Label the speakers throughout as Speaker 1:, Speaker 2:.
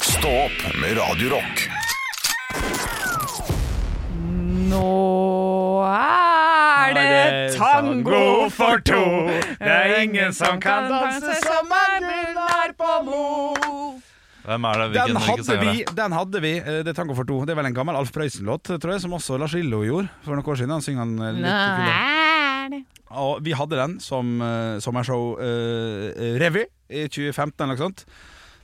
Speaker 1: Stå opp med Radio Rock.
Speaker 2: Nå er det tango for to.
Speaker 3: Det er ingen som kan danse som
Speaker 2: en bunnar på Mo.
Speaker 3: Hvem er det?
Speaker 4: Den
Speaker 3: Hvilken, hvilken
Speaker 4: hadde,
Speaker 3: sanger
Speaker 4: vi,
Speaker 3: er det?
Speaker 4: den hadde vi, eh, det er tango for to. Det er vel en gammel Alf Prøysen-låt, tror jeg, som også Lars Lillo gjorde for noen år siden. Han synger den eh, litt
Speaker 2: Nå
Speaker 4: kul.
Speaker 2: er det
Speaker 4: Og vi hadde den som eh, sommershow-revy i 2015 eller noe sånt.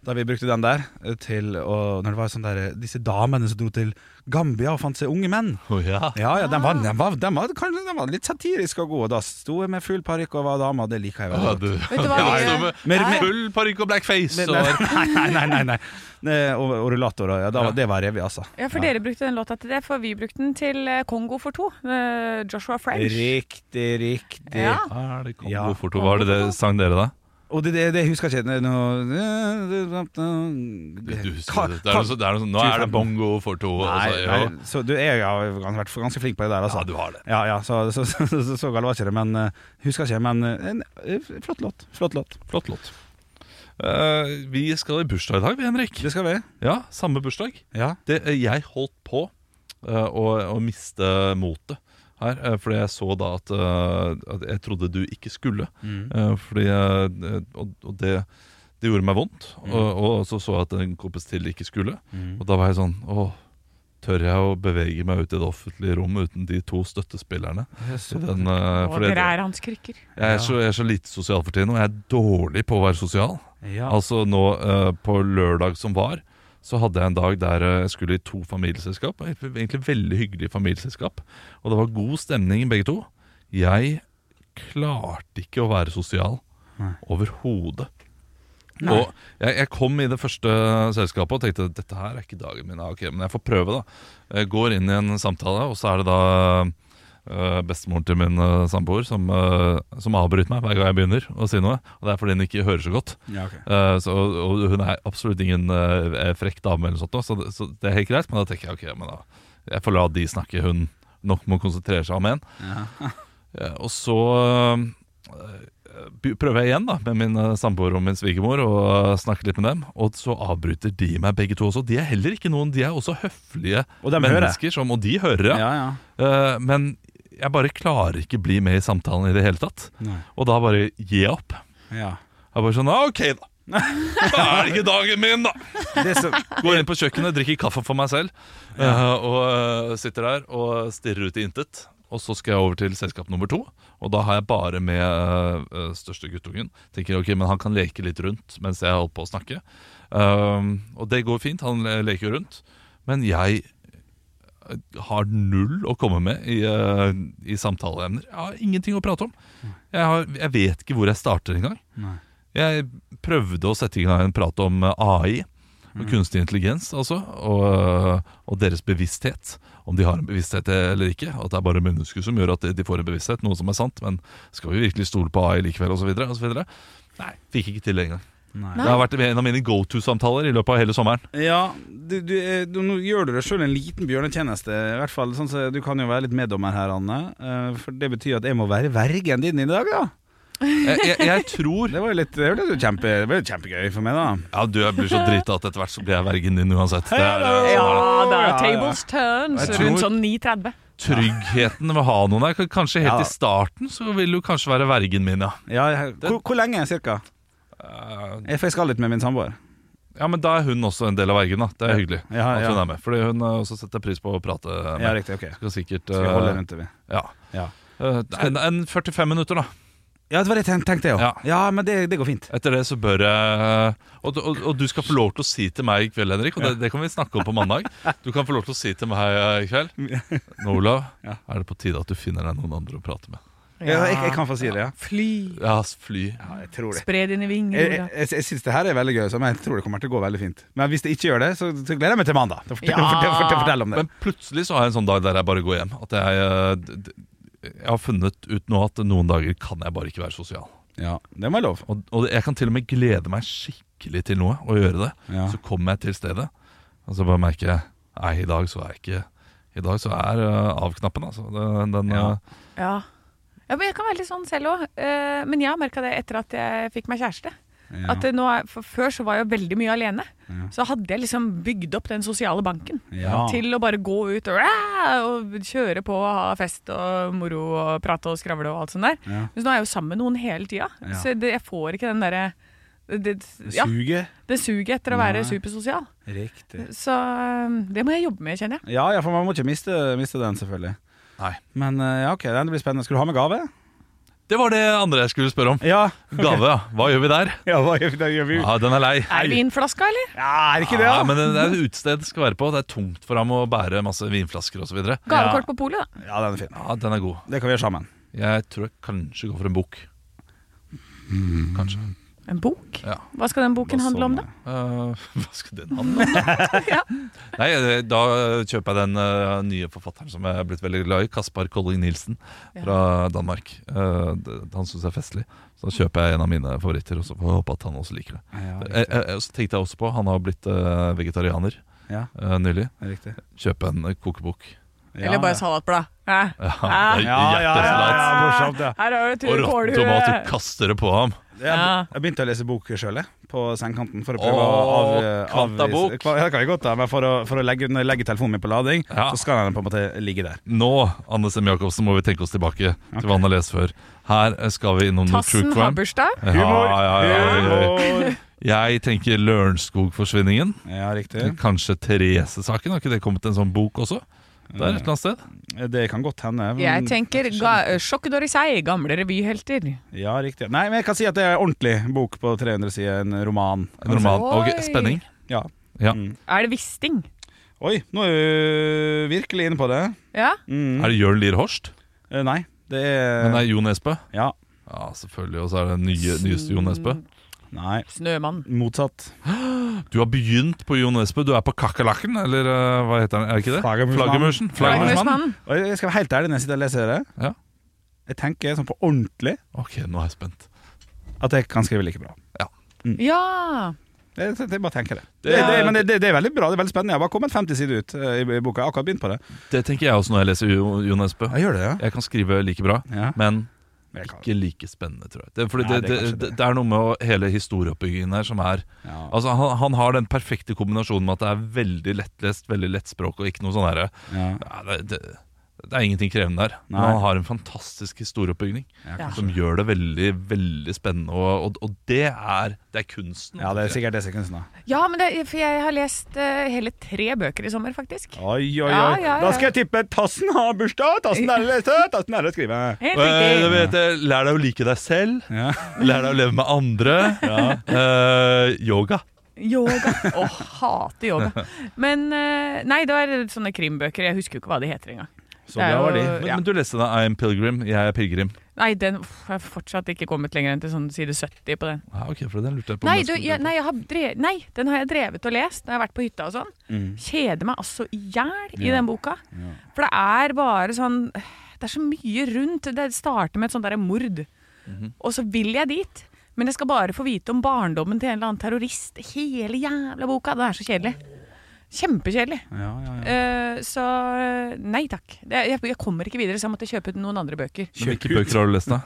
Speaker 4: Da vi brukte den der eh, til å Når det var sånn der eh, Disse damene som dro til Gambia og fant seg unge menn.
Speaker 3: Å, ja.
Speaker 4: Ja, ja, den var, den var, den var, kanskje, den var litt satirisk og god. Og da sto jeg med full parykk og var dame, og det liker jeg veldig
Speaker 3: Ja,
Speaker 4: godt.
Speaker 3: du.
Speaker 2: Vet du hva
Speaker 3: Ja, altså,
Speaker 2: vi-
Speaker 3: jeg sto med-
Speaker 4: Men-
Speaker 3: med
Speaker 4: men-
Speaker 3: Full parykk og blackface.
Speaker 4: Men-
Speaker 3: Og,
Speaker 4: Nei, nei, nei. nei, nei. Eh, Og, og rullator og ja, da, var- Det var revy, altså.
Speaker 2: Ja, for dere brukte den låta til det, for vi brukte den til eh, Kongo for to. eh, Joshua French.
Speaker 4: Riktig, riktig.
Speaker 2: Ja.
Speaker 3: er det Kongo
Speaker 4: Ja.
Speaker 3: for to? Hva er det det sang dere, da?
Speaker 4: Og det, det, det husker jeg ikke. Det er noe-
Speaker 3: Det, du husker
Speaker 4: Ka-
Speaker 3: det. Det er noe så- det er noe sånn, nå er det bongo for to. og
Speaker 4: Nei,
Speaker 3: så-
Speaker 4: nei,
Speaker 3: ja.
Speaker 4: så du jeg har vært ganske flink på det der, altså.
Speaker 3: Ja, du har det.
Speaker 4: Ja, ja, så, så, så, så, så gal var ikke det, men eh, husker ikke, men eh, en eh, flott låt. Flott låt.
Speaker 3: Flott låt. Eh, vi skal i bursdag i dag, vi, Henrik.
Speaker 4: Det skal vi.
Speaker 3: Ja, samme bursdag.
Speaker 4: Ja.
Speaker 3: Det, eh, jeg holdt på eh, å, å miste motet her, eh, fordi jeg så da at, eh, at jeg trodde du ikke skulle.
Speaker 4: Mm,
Speaker 3: Eh, fordi jeg, eh, og, og det, det gjorde meg vondt. Og, og så så jeg at en kompis til ikke skulle.
Speaker 4: Mm.
Speaker 3: Og da var jeg sånn Åh, tør jeg å bevege meg ut i det offentlige rom uten de to støttespillerne? Så den, eh,
Speaker 2: Og
Speaker 3: fordi
Speaker 2: dere
Speaker 3: jeg,
Speaker 2: er hans krykker.
Speaker 3: er så, jeg er så lite sosial for tiden, og jeg er dårlig på å være sosial.
Speaker 4: Ja.
Speaker 3: Altså nå eh, på lørdag som var så hadde jeg en dag der eh, jeg skulle i to familieselskap. og Egentlig veldig hyggelig familieselskap. Og det var god stemning i begge to. Jeg klarte ikke å være sosial overhodet. Og jeg, jeg kom i det første selskapet og tenkte dette her er ikke dagen min. Ah, Ok, men jeg får prøve, da. Jeg går inn i en samtale, og så er det da eh, bestemoren til min eh, samboer som, eh, som avbryter meg hver gang jeg begynner å si noe. Og det er fordi hun ikke hører så godt.
Speaker 4: Ja, ok.
Speaker 3: Eh, så, og hun er absolutt ingen eh, frekk dame, eller noe sånt, nå, så, det- så det er helt greit. Men da tenker jeg ok, men da, jeg får la de snakke. Hun nok må konsentrere seg om en. Eh, og så eh, be- prøver jeg igjen da med min eh, samboer og min svigermor og eh, snakker litt med dem. Og så avbryter de meg begge to også. De er heller ikke noen, de er også høflige
Speaker 4: Og dem hører.
Speaker 3: mennesker. Som, og de hører,
Speaker 4: Ja, ja.
Speaker 3: Eh, men jeg bare klarer ikke bli med i samtalen i det hele tatt.
Speaker 4: Nei.
Speaker 3: Og da bare gi opp.
Speaker 4: ja.
Speaker 3: Jeg bare sånn, «Ah, ok da Da er det ikke dagen min da
Speaker 4: Det som,
Speaker 3: Går inn på kjøkkenet, drikker kaffe for meg selv eh, Og eh, sitter der og stirrer ut i intet Og så skal jeg over til selskap nummer to Og da har jeg bare med eh, eh, største guttungen Tenker, ok, men han kan leke litt rundt Mens jeg holder på å snakke Um, Og det går fint, han le- leker jo rundt Men jeg eh, har null å komme med i, eh, i samtaleemner Jeg har ingenting å prate om Jeg, har, jeg vet ikke hvor jeg starter engang jeg prøvde å sette i gang en prat om AI og kunstig intelligens, altså. Og, eh, og deres bevissthet. Om de har en bevissthet eller ikke. At det er bare mennesker som gjør at de får en bevissthet, noe som er sant. Men skal vi virkelig stole på AI likevel, osv.? Nei, fikk ikke til det engang.
Speaker 4: nei.
Speaker 3: Det har vært en av mine go to-samtaler i løpet av hele sommeren.
Speaker 4: Ja, du, du, eh, du, nå gjør du deg sjøl en liten bjørnetjeneste. I hvert fall, sånn, så Du kan jo være litt meddommer her, Anne. eh, For det betyr at jeg må være vergen din i dag, da.
Speaker 3: Jeg, jeg, jeg tror
Speaker 4: Det var jo litt det var jo kjempe, det var jo kjempegøy for meg, da.
Speaker 3: Ja, du jeg blir så drita at etter hvert så blir jeg vergen din uansett. Det er, eh, sånn er det.
Speaker 2: Ja, det
Speaker 4: ja,
Speaker 2: er
Speaker 4: ja.
Speaker 2: tables turns
Speaker 3: Jeg
Speaker 2: rundt
Speaker 3: tror-
Speaker 2: sånn 9.30.
Speaker 3: Tryggheten ved å ha noen der. k- Kanskje helt
Speaker 4: Ja.
Speaker 3: i starten så vil du kanskje være vergen min, ja.
Speaker 4: Ja, jeg- hvor, hvor lenge, cirka?
Speaker 3: Eh,
Speaker 4: Jeg, for jeg skal litt med min samboer.
Speaker 3: Ja, men da er hun også en del av vergen, da. Det er hyggelig
Speaker 4: Ja,
Speaker 3: at
Speaker 4: ja.
Speaker 3: hun er med. Fordi hun eh, også setter pris på å prate med.
Speaker 4: Ja, riktig, ok
Speaker 3: Skal sikkert
Speaker 4: Skal vi holde
Speaker 3: eh,
Speaker 4: rundt det, vi.
Speaker 3: Ja.
Speaker 4: Ja.
Speaker 3: Eh, en, en 45 minutter, da.
Speaker 4: Ja, det var det jeg ten- tenkte, jeg
Speaker 3: Ja.
Speaker 4: òg. Ja, men det, det går fint.
Speaker 3: Etter det så bør jeg og, og, og du skal få lov til å si til meg i kveld, Henrik, og det, det kan vi snakke om på mandag Du kan få lov til å si til meg eh, i kveld Nå, Olav,
Speaker 4: Ja.
Speaker 3: er det på tide at du finner deg noen andre å prate med?
Speaker 4: Ja, jeg, jeg kan få si det, ja.
Speaker 2: Fly,
Speaker 3: Ja, s- fly.
Speaker 4: ja jeg tror det.
Speaker 2: spre dine vinger.
Speaker 4: Jeg,
Speaker 2: Ola.
Speaker 4: jeg, jeg syns det her er veldig gøy, så men jeg tror det kommer til å gå veldig fint. Men hvis det ikke gjør det, så, så gleder jeg meg til mandag. Da fortell,
Speaker 2: Ja.
Speaker 4: fortell, fortell, fortell om det.
Speaker 3: Men plutselig så har jeg en sånn dag der jeg bare går hjem. At jeg, eh, d- d- jeg har funnet ut nå at noen dager kan jeg bare ikke være sosial.
Speaker 4: Ja, det må jeg lov.
Speaker 3: Og, og jeg kan til og med glede meg skikkelig til noe og gjøre det.
Speaker 4: Ja.
Speaker 3: Så kommer jeg til stedet, og så bare merker jeg Nei, i dag så er jeg ikke I dag så er øh, av-knappen, altså. Den, den,
Speaker 4: Ja.
Speaker 3: øh,
Speaker 2: Eh, Ja. ja, men jeg kan være litt sånn selv òg. Men jeg har merka det etter at jeg fikk meg kjæreste.
Speaker 4: Ja.
Speaker 2: At det nå er, for Før så var jeg jo veldig mye alene.
Speaker 4: Ja.
Speaker 2: Så hadde jeg liksom bygd opp den sosiale banken
Speaker 4: Ja.
Speaker 2: til å bare gå ut og, "Rah!" og kjøre på og ha fest og moro og prate og skravle og alt sånt der.
Speaker 4: Ja.
Speaker 2: Men så nå er jeg jo sammen med noen hele tida,
Speaker 4: Ja.
Speaker 2: så det, jeg får ikke den derre det,
Speaker 4: Det
Speaker 2: ja,
Speaker 4: Suger.
Speaker 2: det suger etter å være
Speaker 4: Nei.
Speaker 2: supersosial.
Speaker 4: Riktig.
Speaker 2: Så øhm, det må jeg jobbe med, kjenner jeg.
Speaker 4: Ja, ja, for man må ikke miste, miste den, selvfølgelig.
Speaker 3: Nei.
Speaker 4: Men eh, ja, ok, den blir spennende. Skal du ha med gave?
Speaker 3: Det var det andre jeg skulle spørre om.
Speaker 4: Ja.
Speaker 3: Gave, ja. Hva gjør vi der?
Speaker 4: ja hva gjør vi? Da gjør vi
Speaker 3: Ja, den er lei.
Speaker 2: Er vinflaska, eller?
Speaker 4: Ja, er det ikke det,
Speaker 3: Ja,
Speaker 4: da?
Speaker 3: men det er et utested det skal være på. Det er tungt for ham å bære masse vinflasker osv. Ja,
Speaker 2: Gavekort på polet, da.
Speaker 4: Ja, den er fin.
Speaker 3: den er god.
Speaker 4: Det kan vi gjøre sammen.
Speaker 3: Jeg tror jeg kanskje går for en bok.
Speaker 4: Mm.
Speaker 3: Kanskje.
Speaker 2: En bok?
Speaker 3: Ja.
Speaker 2: Hva skal den boken handle om, da?
Speaker 3: Eh, hva skal den handle om?
Speaker 2: Ja.
Speaker 3: Nei, eh, da kjøper jeg den eh, nye forfatteren som jeg er blitt veldig glad i. Kaspar Colling Nielsen fra Danmark. Eh, det- han syns jeg er festlig. Så da kjøper jeg en av mine favoritter, og så får jeg håpe at han også liker det.
Speaker 4: Ja,
Speaker 3: Eh, eh, eh, så tenkte jeg også på, han har blitt eh, vegetarianer
Speaker 4: Ja,
Speaker 3: eh, nylig.
Speaker 4: riktig.
Speaker 3: Kjøpe en eh, kokebok.
Speaker 2: Eller bare salatblad? Hæ?
Speaker 3: Ja,
Speaker 2: Ah.
Speaker 3: det
Speaker 4: Ja,
Speaker 3: er
Speaker 4: ja, ja,
Speaker 3: hjertesalat.
Speaker 4: ja, morsomt, ja.
Speaker 2: Her har du
Speaker 3: Og
Speaker 2: tur
Speaker 3: råtne tomater
Speaker 2: kålhue.
Speaker 3: kaster det på ham.
Speaker 2: Ja.
Speaker 4: Jeg, jeg begynte å lese bok sjøl, jeg. På sengekanten. For å prøve å
Speaker 3: Åh,
Speaker 4: av, avvise
Speaker 3: kvantabok.
Speaker 4: Kva- Ja, det kan jeg godt, da. Men for å, for å legge, når jeg legger telefonen min på lading,
Speaker 3: Ja.
Speaker 4: så skal den på en måte ligge der.
Speaker 3: Nå Anne Sem Jacobsen, må vi tenke oss tilbake til hva han har lest før. Her eh, skal vi innom noe true
Speaker 2: Tassen har
Speaker 3: crime.
Speaker 2: bursdag.
Speaker 3: Ja, ja, ja, ja, ja.
Speaker 4: Humor.
Speaker 3: Jeg tenker Lørenskog-forsvinningen.
Speaker 4: Ja, riktig.
Speaker 3: Kanskje Therese-saken. Har ikke det kommet en sånn bok også? Det er et eller annet sted.
Speaker 4: Det kan godt hende. men-
Speaker 2: Jeg tenker ga eh, Sjokk Dorisei, gamle revyhelter.
Speaker 4: Ja, riktig. Nei, men jeg kan si at det er en ordentlig bok på 300 sider. En roman.
Speaker 3: En roman. Og
Speaker 2: Oi.
Speaker 3: spenning.
Speaker 4: Ja.
Speaker 3: Ja.
Speaker 4: Mm.
Speaker 2: Er det Wisting?
Speaker 4: Oi, nå er du virkelig inne på det.
Speaker 2: Ja?
Speaker 4: Mm.
Speaker 3: Er det Jørn Lier Horst?
Speaker 4: Eh, Nei, det er
Speaker 3: Men det er Jon Espe?
Speaker 4: Ja.
Speaker 3: Ja, selvfølgelig. Og så er det den nye, nyeste Jon Espe.
Speaker 4: Nei.
Speaker 2: Snømann.
Speaker 4: Motsatt.
Speaker 3: Du har begynt på Jon Espe. Du er på kakerlakken, eller eh, hva heter den? Er det ikke det?
Speaker 4: Flaggermusmannen.
Speaker 3: Flaggermusen. Flaggermusmannen.
Speaker 2: Magnusmannen.
Speaker 4: Og jeg skal være helt ærlig når jeg sitter og leser det.
Speaker 3: Ja.
Speaker 4: Jeg tenker sånn på ordentlig
Speaker 3: Ok, nå er jeg spent.
Speaker 4: at jeg kan skrive like bra.
Speaker 2: Ja!
Speaker 4: Jeg, jeg, jeg bare tenker det.
Speaker 3: Det-
Speaker 4: det, det men det, det, det er veldig bra. Det er veldig spennende. Jeg har bare kommet 50 sider ut eh, i, i boka. Jeg har akkurat begynt på det.
Speaker 3: Det tenker jeg også når jeg leser Jo- Jon Espe.
Speaker 4: Jeg gjør det,
Speaker 3: Jeg kan skrive like bra,
Speaker 4: ja.
Speaker 3: men
Speaker 4: Men jeg kan-
Speaker 3: ikke like spennende, tror jeg. Det, fordi
Speaker 4: Nei, det
Speaker 3: det,
Speaker 4: er
Speaker 3: det,
Speaker 4: kanskje
Speaker 3: det,
Speaker 4: det.
Speaker 3: er noe med å, hele historieoppbyggingen her som er
Speaker 4: Ja.
Speaker 3: Altså, han, han har den perfekte kombinasjonen med at det er veldig lettlest, veldig lett språk, og ikke noe sånn herre
Speaker 4: Ja.
Speaker 3: ja, det, det, det er ingenting krevende der. Men
Speaker 4: Nei.
Speaker 3: han har en fantastisk historieoppbygging
Speaker 2: Ja.
Speaker 3: som gjør det veldig, veldig spennende, og, og, og det er Det er kunsten.
Speaker 4: ja, det er sikkert det sekundet. da.
Speaker 2: ja, men det, for jeg har lest eh, hele tre bøker i sommer, faktisk.
Speaker 4: Oi, oi,
Speaker 2: Ja,
Speaker 4: oi.
Speaker 2: ja, ja.
Speaker 4: Da skal jeg tippe Tassen har bursdag! Tassen er det å lese! Tassen er det å skrive!
Speaker 2: Helt
Speaker 3: Eh, du
Speaker 2: riktig.
Speaker 3: vet, eh, Lær deg å like deg selv.
Speaker 4: Ja.
Speaker 3: Lær deg å leve med andre. Eh, yoga.
Speaker 2: Yoga. Å, hater yoga. Men eh, Nei, det var sånne krimbøker. Jeg husker jo ikke hva de heter engang.
Speaker 4: Så
Speaker 2: Det er
Speaker 4: bra var de.
Speaker 2: jo-
Speaker 3: Men,
Speaker 2: Ja.
Speaker 3: men du leste da I am Pilgrim, jeg er pilegrim.
Speaker 2: Nei, den uff, jeg har fortsatt ikke kommet lenger enn til sånn side 70 på den.
Speaker 3: Ja, Ah, ok, for den lurte jeg på. om
Speaker 2: Nei,
Speaker 3: jeg
Speaker 2: du,
Speaker 3: skulle
Speaker 2: jeg,
Speaker 3: begynne
Speaker 2: nei, jeg har dre- nei, den har jeg drevet og lest når jeg har vært på hytta og sånn. Kjeder meg altså i hjel i
Speaker 4: Mm. Ja.
Speaker 2: den boka. For det er bare sånn Det er så mye rundt. Det starter med et sånt derre mord.
Speaker 4: Mhm.
Speaker 2: Og så vil jeg dit. Men jeg skal bare få vite om barndommen til en eller annen terrorist. Hele jævla boka. Det er så kjedelig. Kjempekjedelig.
Speaker 4: Ja, ja, ja.
Speaker 2: Eh, så nei takk. Det, jeg, jeg kommer ikke videre, så jeg måtte kjøpe noen andre bøker.
Speaker 3: på. Men Hvilke bøker har du lest, da?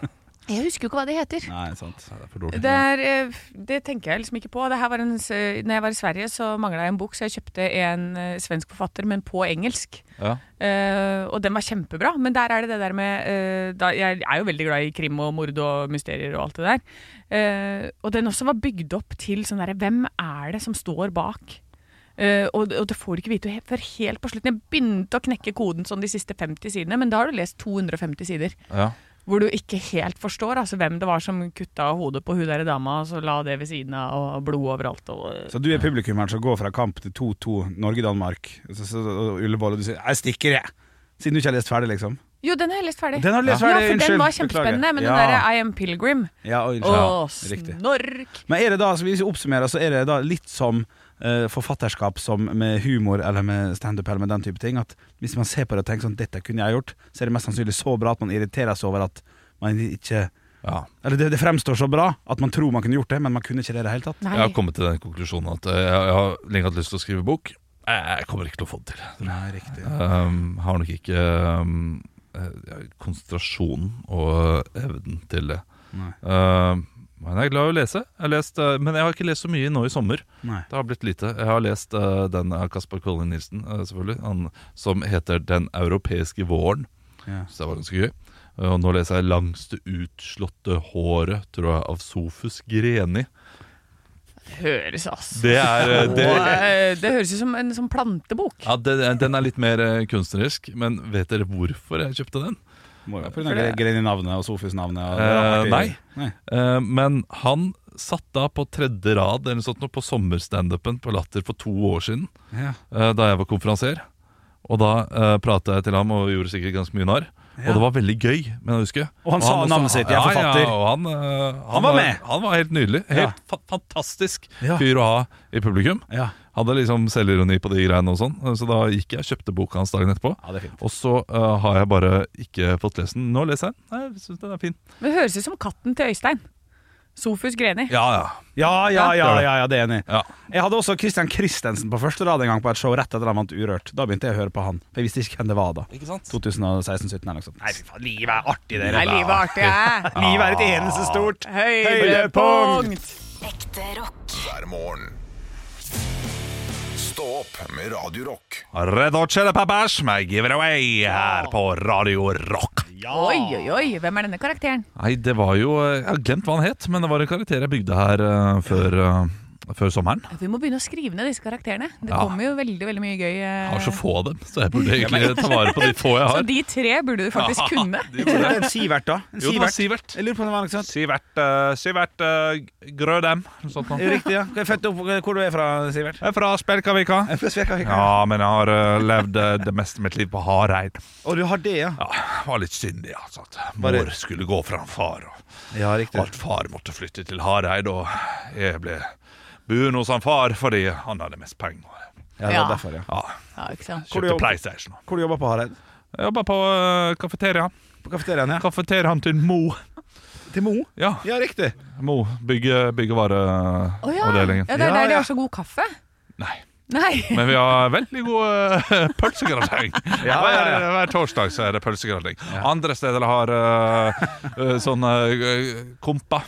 Speaker 2: Jeg husker jo ikke hva de heter.
Speaker 4: Nei, sant.
Speaker 3: Nei, det er for dårlig.
Speaker 2: Det, er, eh, det tenker jeg liksom ikke på. Det her var en, s- når jeg var i Sverige, så mangla jeg en bok, så jeg kjøpte en eh, svensk forfatter, men på engelsk.
Speaker 3: Ja.
Speaker 2: Eh, og den var kjempebra, men der er det det der med eh, da, Jeg er jo veldig glad i krim og mord og mysterier og alt det der. Eh, og den også var bygd opp til sånn derre Hvem er det som står bak? Eh, og, og det får du ikke vite he- før helt på slutten. Jeg begynte å knekke koden sånn de siste 50 sidene, men da har du lest 250 sider
Speaker 3: Ja.
Speaker 2: hvor du ikke helt forstår altså, hvem det var som kutta hodet på hun der dama, og så la det ved siden av, og blod overalt. Og,
Speaker 4: Så du er publikummeren som går fra kamp til 2-2 Norge-Danmark så- så- og Ullevål, og du sier 'jeg stikker, jeg', siden du ikke har lest ferdig, liksom?
Speaker 2: jo, den har jeg lest ferdig.
Speaker 4: Den har du lest ferdig,
Speaker 2: ja, for
Speaker 4: unnskyld,
Speaker 2: den var
Speaker 4: beklager.
Speaker 2: kjempespennende, men den
Speaker 4: Ja.
Speaker 2: derre I am Pilgrim
Speaker 4: Ja, og,
Speaker 2: Å,
Speaker 4: riktig.
Speaker 2: snork!
Speaker 4: Men er det da, så hvis vi oppsummerer, så er det da litt som eh, forfatterskap som med humor eller med standup eller med den type ting, at hvis man ser på det og tenker sånn 'dette kunne jeg gjort', så er det mest sannsynlig så bra at man irriterer seg over at man ikke
Speaker 3: ja.
Speaker 4: Eller det, det fremstår så bra at man tror man kunne gjort det, men man kunne ikke det i det hele tatt.
Speaker 2: Nei.
Speaker 3: Jeg har kommet til den konklusjonen at eh, jeg, jeg har lenge hatt lyst til å skrive bok. Eh, Jeg kommer ikke til å få det til.
Speaker 4: Nei, riktig.
Speaker 3: Um, har nok ikke um, eh, konsentrasjonen og evnen til det.
Speaker 4: Nei.
Speaker 3: Um, Men jeg er glad i å lese. Jeg har lest, eh, men jeg har ikke lest så mye nå i sommer.
Speaker 4: Nei.
Speaker 3: Det har blitt lite. Jeg har lest eh, den av Kaspar Colin Nilsen, eh, selvfølgelig, han, som heter 'Den europeiske våren'.
Speaker 4: Ja.
Speaker 3: Så det var ganske gøy. Eh, og nå leser jeg 'Langste utslåtte håret', tror jeg, av Sofus Greni.
Speaker 2: Høres, altså.
Speaker 3: Det er eh, det,
Speaker 2: Og, eh, det høres ut som en sånn plantebok.
Speaker 3: ja, det, Den er litt mer eh, kunstnerisk, men vet dere hvorfor jeg kjøpte den?
Speaker 4: Må jo være på
Speaker 2: For
Speaker 4: grunn av
Speaker 2: det-
Speaker 4: Greni-navnet og Sofus-navnet. og-
Speaker 3: Eh, nei.
Speaker 4: nei.
Speaker 3: Eh, men han satt da på tredje rad eller noe sånt, nå på sommerstandupen på Latter for to år siden.
Speaker 4: Ja.
Speaker 3: eh, da jeg var konferansier. Og da uh, prata jeg til ham og gjorde sikkert ganske mye narr. Og det var veldig gøy. Men jeg husker
Speaker 4: Og han sa
Speaker 3: også-
Speaker 4: navnet sitt, jeg er forfatter.
Speaker 3: Ja, ja, og han, eh, han,
Speaker 4: var med.
Speaker 3: Han var helt nydelig. Helt fa fantastisk
Speaker 4: Ja.
Speaker 3: fyr å ha i publikum.
Speaker 4: Ja.
Speaker 3: Hadde liksom selvironi på de greiene og sånn. eh, Så da gikk jeg og kjøpte boka hans dagen etterpå.
Speaker 4: ja, det er fint.
Speaker 3: Og så eh, har jeg bare ikke fått lest den. Nå leser jeg den. Nei, Jeg syns den er fin.
Speaker 2: Men Det høres ut som katten til Øystein. Sofus Greni.
Speaker 3: Ja, ja.
Speaker 4: Ja, ja, ja, ja, ja det er jeg enig. i.
Speaker 3: ja.
Speaker 4: Jeg hadde også Christian Christensen på første rad en gang på et show rett etter at han vant Urørt. Da begynte jeg å høre på han. For jeg visste ikke hvem det var da.
Speaker 3: Ikke sant?
Speaker 4: 2016-17 eller noe sånt. Nei, fy faen, livet er artig, dere.
Speaker 2: Nei, livet er artig, hæ?
Speaker 4: Livet er et eneste stort
Speaker 2: Høydepunkt!
Speaker 5: Ekte rock.
Speaker 1: hver morgen. Stå opp med Radio Rock.
Speaker 3: Red Hot Chili Peppers med Give It Away her på Radio Rock.
Speaker 2: Oi, oi, oi. Hvem er denne karakteren?
Speaker 3: Nei, det var jo eh, Jeg har glemt hva han het, men det var en karakter jeg bygde her eh, før, eh, før sommeren.
Speaker 2: Vi må begynne å skrive ned disse karakterene. Det
Speaker 3: Ja.
Speaker 2: kommer jo veldig veldig mye gøy. eh,
Speaker 3: Jeg har så få av dem, så jeg burde egentlig ta vare på de få jeg
Speaker 2: så
Speaker 3: har.
Speaker 2: de tre burde du faktisk kunne.
Speaker 3: De
Speaker 4: Det
Speaker 3: burde-
Speaker 4: er en Sivert, da. En
Speaker 3: Jo, det
Speaker 4: Sivert.
Speaker 3: var Sivert.
Speaker 4: Jeg lurer på om det var noe sånt.
Speaker 3: Sivert, uh, Sivert eh, Grødem. eller Sånt noe.
Speaker 4: Er det Riktig, ja. Hvor er Født opp, hvor du er fra, Sivert?
Speaker 3: Jeg er fra Spjelkavika.
Speaker 4: Jeg er fra Sverige.
Speaker 3: Ja, men jeg har eh, levd eh, det meste av mitt liv på Hareid.
Speaker 4: Og du har det, ja?
Speaker 3: Ja, var litt syndig, altså. At
Speaker 4: Bare-
Speaker 3: mor skulle gå fra far. Og
Speaker 4: Ja, riktig.
Speaker 3: Og at far måtte flytte til Hareid, og jeg ble buende hos han far fordi han hadde mest penger.
Speaker 4: Ja, det
Speaker 2: Ja.
Speaker 4: var derfor, ja.
Speaker 3: Ja,
Speaker 2: Ja, ikke sant?
Speaker 4: Hvor du
Speaker 3: kjøpte
Speaker 4: jobb-
Speaker 3: PlayStation.
Speaker 4: Hvor du jobber på eh, Hareid?
Speaker 3: Jeg jobba på uh, kafeteria.
Speaker 4: På kafeteriaen, ja.
Speaker 3: Kafeteriaen til Mo.
Speaker 4: Til Mo?
Speaker 3: Ja,
Speaker 4: Ja, riktig.
Speaker 3: Mo. Bygge,
Speaker 2: Å ja.
Speaker 3: byggevareavdelingen.
Speaker 2: ja, det er
Speaker 4: Ja,
Speaker 2: der de
Speaker 4: ja.
Speaker 2: har så god kaffe.
Speaker 3: Nei.
Speaker 2: Nei.
Speaker 3: Men vi har veldig god uh, pølsegrateng.
Speaker 4: Ja, ja,
Speaker 3: hver,
Speaker 4: ja.
Speaker 3: hver torsdag så er det pølsegrateng. Andre steder har uh, uh, sånn uh, kompa.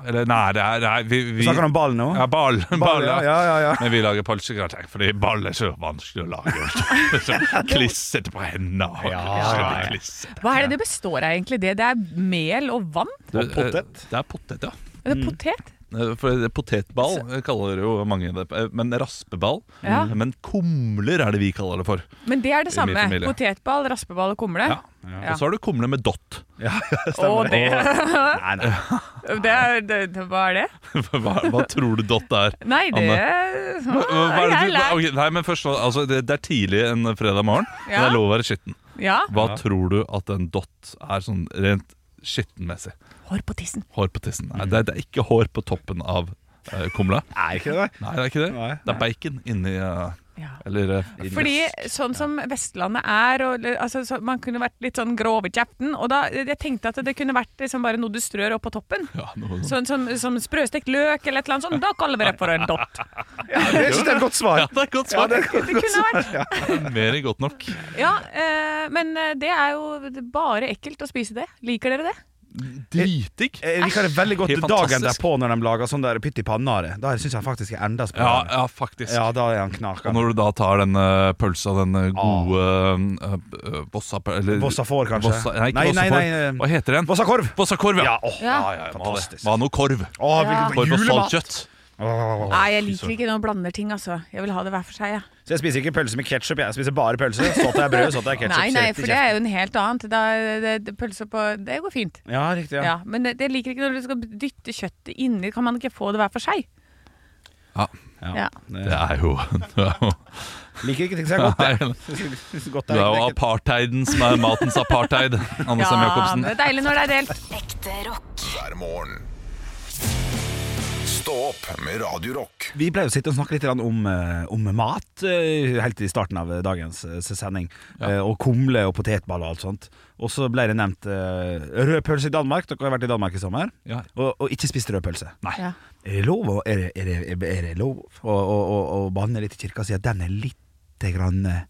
Speaker 3: Eller nei, det er, nei vi, vi
Speaker 4: Vi snakker om ball nå?
Speaker 3: ja, ball.
Speaker 4: Ball, ja, ja, ja, ja.
Speaker 3: Men vi lager pølsegrateng fordi ball er så vanskelig å lage. Så Klissete på hendene. og
Speaker 4: Ja,
Speaker 3: klissete,
Speaker 4: ja, ja.
Speaker 3: klissete.
Speaker 2: Hva er det det består av, egentlig? Det, det er mel og vann?
Speaker 3: Du,
Speaker 4: Og potet.
Speaker 3: eh, Det er potet, ja.
Speaker 2: Er det potet?
Speaker 3: Eh, For det- Potetball eh, kaller det jo mange det. eh, Men raspeball.
Speaker 2: Ja.
Speaker 3: Men kumler er det vi kaller det for.
Speaker 2: Men det er det
Speaker 3: I min
Speaker 2: samme.
Speaker 3: familie.
Speaker 2: Potetball, raspeball og kumle.
Speaker 3: Ja.
Speaker 2: Ja.
Speaker 3: Og så har du kumle med dott.
Speaker 2: og det,
Speaker 4: Nei, nei.
Speaker 2: det, er, det, det Hva er det?
Speaker 3: Hva, hva tror du dott er?
Speaker 2: Nei, det
Speaker 3: Hva, hva er det
Speaker 2: Jeg
Speaker 3: du,
Speaker 2: lærer.
Speaker 3: ok, nei, men først, altså, det, det er tidlig en fredag morgen, men
Speaker 2: Ja.
Speaker 3: det er lov å være skitten.
Speaker 2: Ja.
Speaker 3: Hva tror du at en dott er sånn rent skittenmessig?
Speaker 2: Hår på tissen.
Speaker 3: Hår på tissen.
Speaker 4: Mm.
Speaker 3: Nei, det, er, det er ikke hår på toppen av eh, kumla.
Speaker 4: Er ikke det det?
Speaker 3: Nei, det er ikke det.
Speaker 4: Nei.
Speaker 3: Det er bacon inni eh,
Speaker 2: Ja.
Speaker 3: Eller eh,
Speaker 2: Fordi sånn som Vestlandet er og, altså, så, Man kunne vært litt sånn grov i kjeften. Og da, jeg tenkte at det kunne vært liksom bare noe du strør opp på toppen.
Speaker 3: ja, noe, sånt.
Speaker 2: Sånn som, som sprøstekt løk eller et eller annet sånt. Da kaller vi det for en dott.
Speaker 4: Det er ikke et godt svar.
Speaker 3: ja, det er godt svar.
Speaker 2: Det kunne vært.
Speaker 3: Mer enn godt nok.
Speaker 2: Ja, eh, men eh, det er jo bare ekkelt å spise det. Liker dere det?
Speaker 3: Dritdigg.
Speaker 4: Jeg liker Eh, det veldig godt
Speaker 3: Helt
Speaker 4: dagen
Speaker 3: fantastisk.
Speaker 4: derpå når de lager sånn der pytt i panna-are. Da syns jeg han faktisk er enda
Speaker 3: Ja,
Speaker 4: spennende.
Speaker 3: ja, faktisk.
Speaker 4: eh, Ja, da er han
Speaker 3: Og
Speaker 4: knakende.
Speaker 3: når du da tar den eh, pølsa, den eh, gode uh, Vossa... Eller,
Speaker 4: Vossa Ah. får, kanskje.
Speaker 3: Vossa- nei, ikke
Speaker 4: Nei,
Speaker 3: Vossa
Speaker 4: nei,
Speaker 3: får.
Speaker 4: nei, eh,
Speaker 3: Hva heter den?
Speaker 4: Vossa korv!
Speaker 3: Vossa korv, ja.
Speaker 4: Ja, åh,
Speaker 2: Ja.
Speaker 4: ja, ja, ja, fantastisk.
Speaker 3: Hva noe korv?
Speaker 4: Åh,
Speaker 2: Ja.
Speaker 3: Korv og
Speaker 4: julemat!
Speaker 3: saltkjøtt.
Speaker 4: Åh.
Speaker 2: Nei, jeg liker ikke når man blander ting, altså. Jeg vil ha det hver for seg, jeg.
Speaker 4: Så jeg spiser ikke pølse med ketsjup, jeg spiser bare pølse. Sånn at det er brød, sånn at det er
Speaker 2: Nei,
Speaker 4: ketsjup.
Speaker 2: nei, for det er jo en helt annet. Da, det, det, pølse på Det går fint.
Speaker 4: Ja, riktig.
Speaker 2: Ja.
Speaker 4: Ja.
Speaker 2: men det, jeg liker ikke når du skal dytte kjøttet inni. Kan man ikke få det hver for seg?
Speaker 3: Ja.
Speaker 2: Ja.
Speaker 3: Det er jo Du er jo,
Speaker 4: Liker ikke ting som er godt.
Speaker 3: Nei,
Speaker 4: jeg.
Speaker 3: du
Speaker 4: Synes godt
Speaker 3: er jo
Speaker 4: ekkelt.
Speaker 3: apartheiden som er matens apartheid, Anne Sem
Speaker 2: ja,
Speaker 3: Jacobsen.
Speaker 2: det er deilig når det er delt.
Speaker 5: Ekte rock.
Speaker 1: hver morgen. Stå opp med Radio Rock
Speaker 4: Vi ble jo sitte og snakke litt grann om, eh, om mat eh, helt i starten av eh, dagens eh, sending. Eh, Og kumle og potetball og alt sånt. Og så ble det nevnt eh, rød pølse i Danmark. Dere har vært i Danmark i sommer.
Speaker 3: Ja.
Speaker 4: Og, og ikke spist rød pølse.
Speaker 2: Ja.
Speaker 4: Er det lov, å- er det, er det, er det lov å, å, å, å banne litt i kirka og si at den er litt grann eh,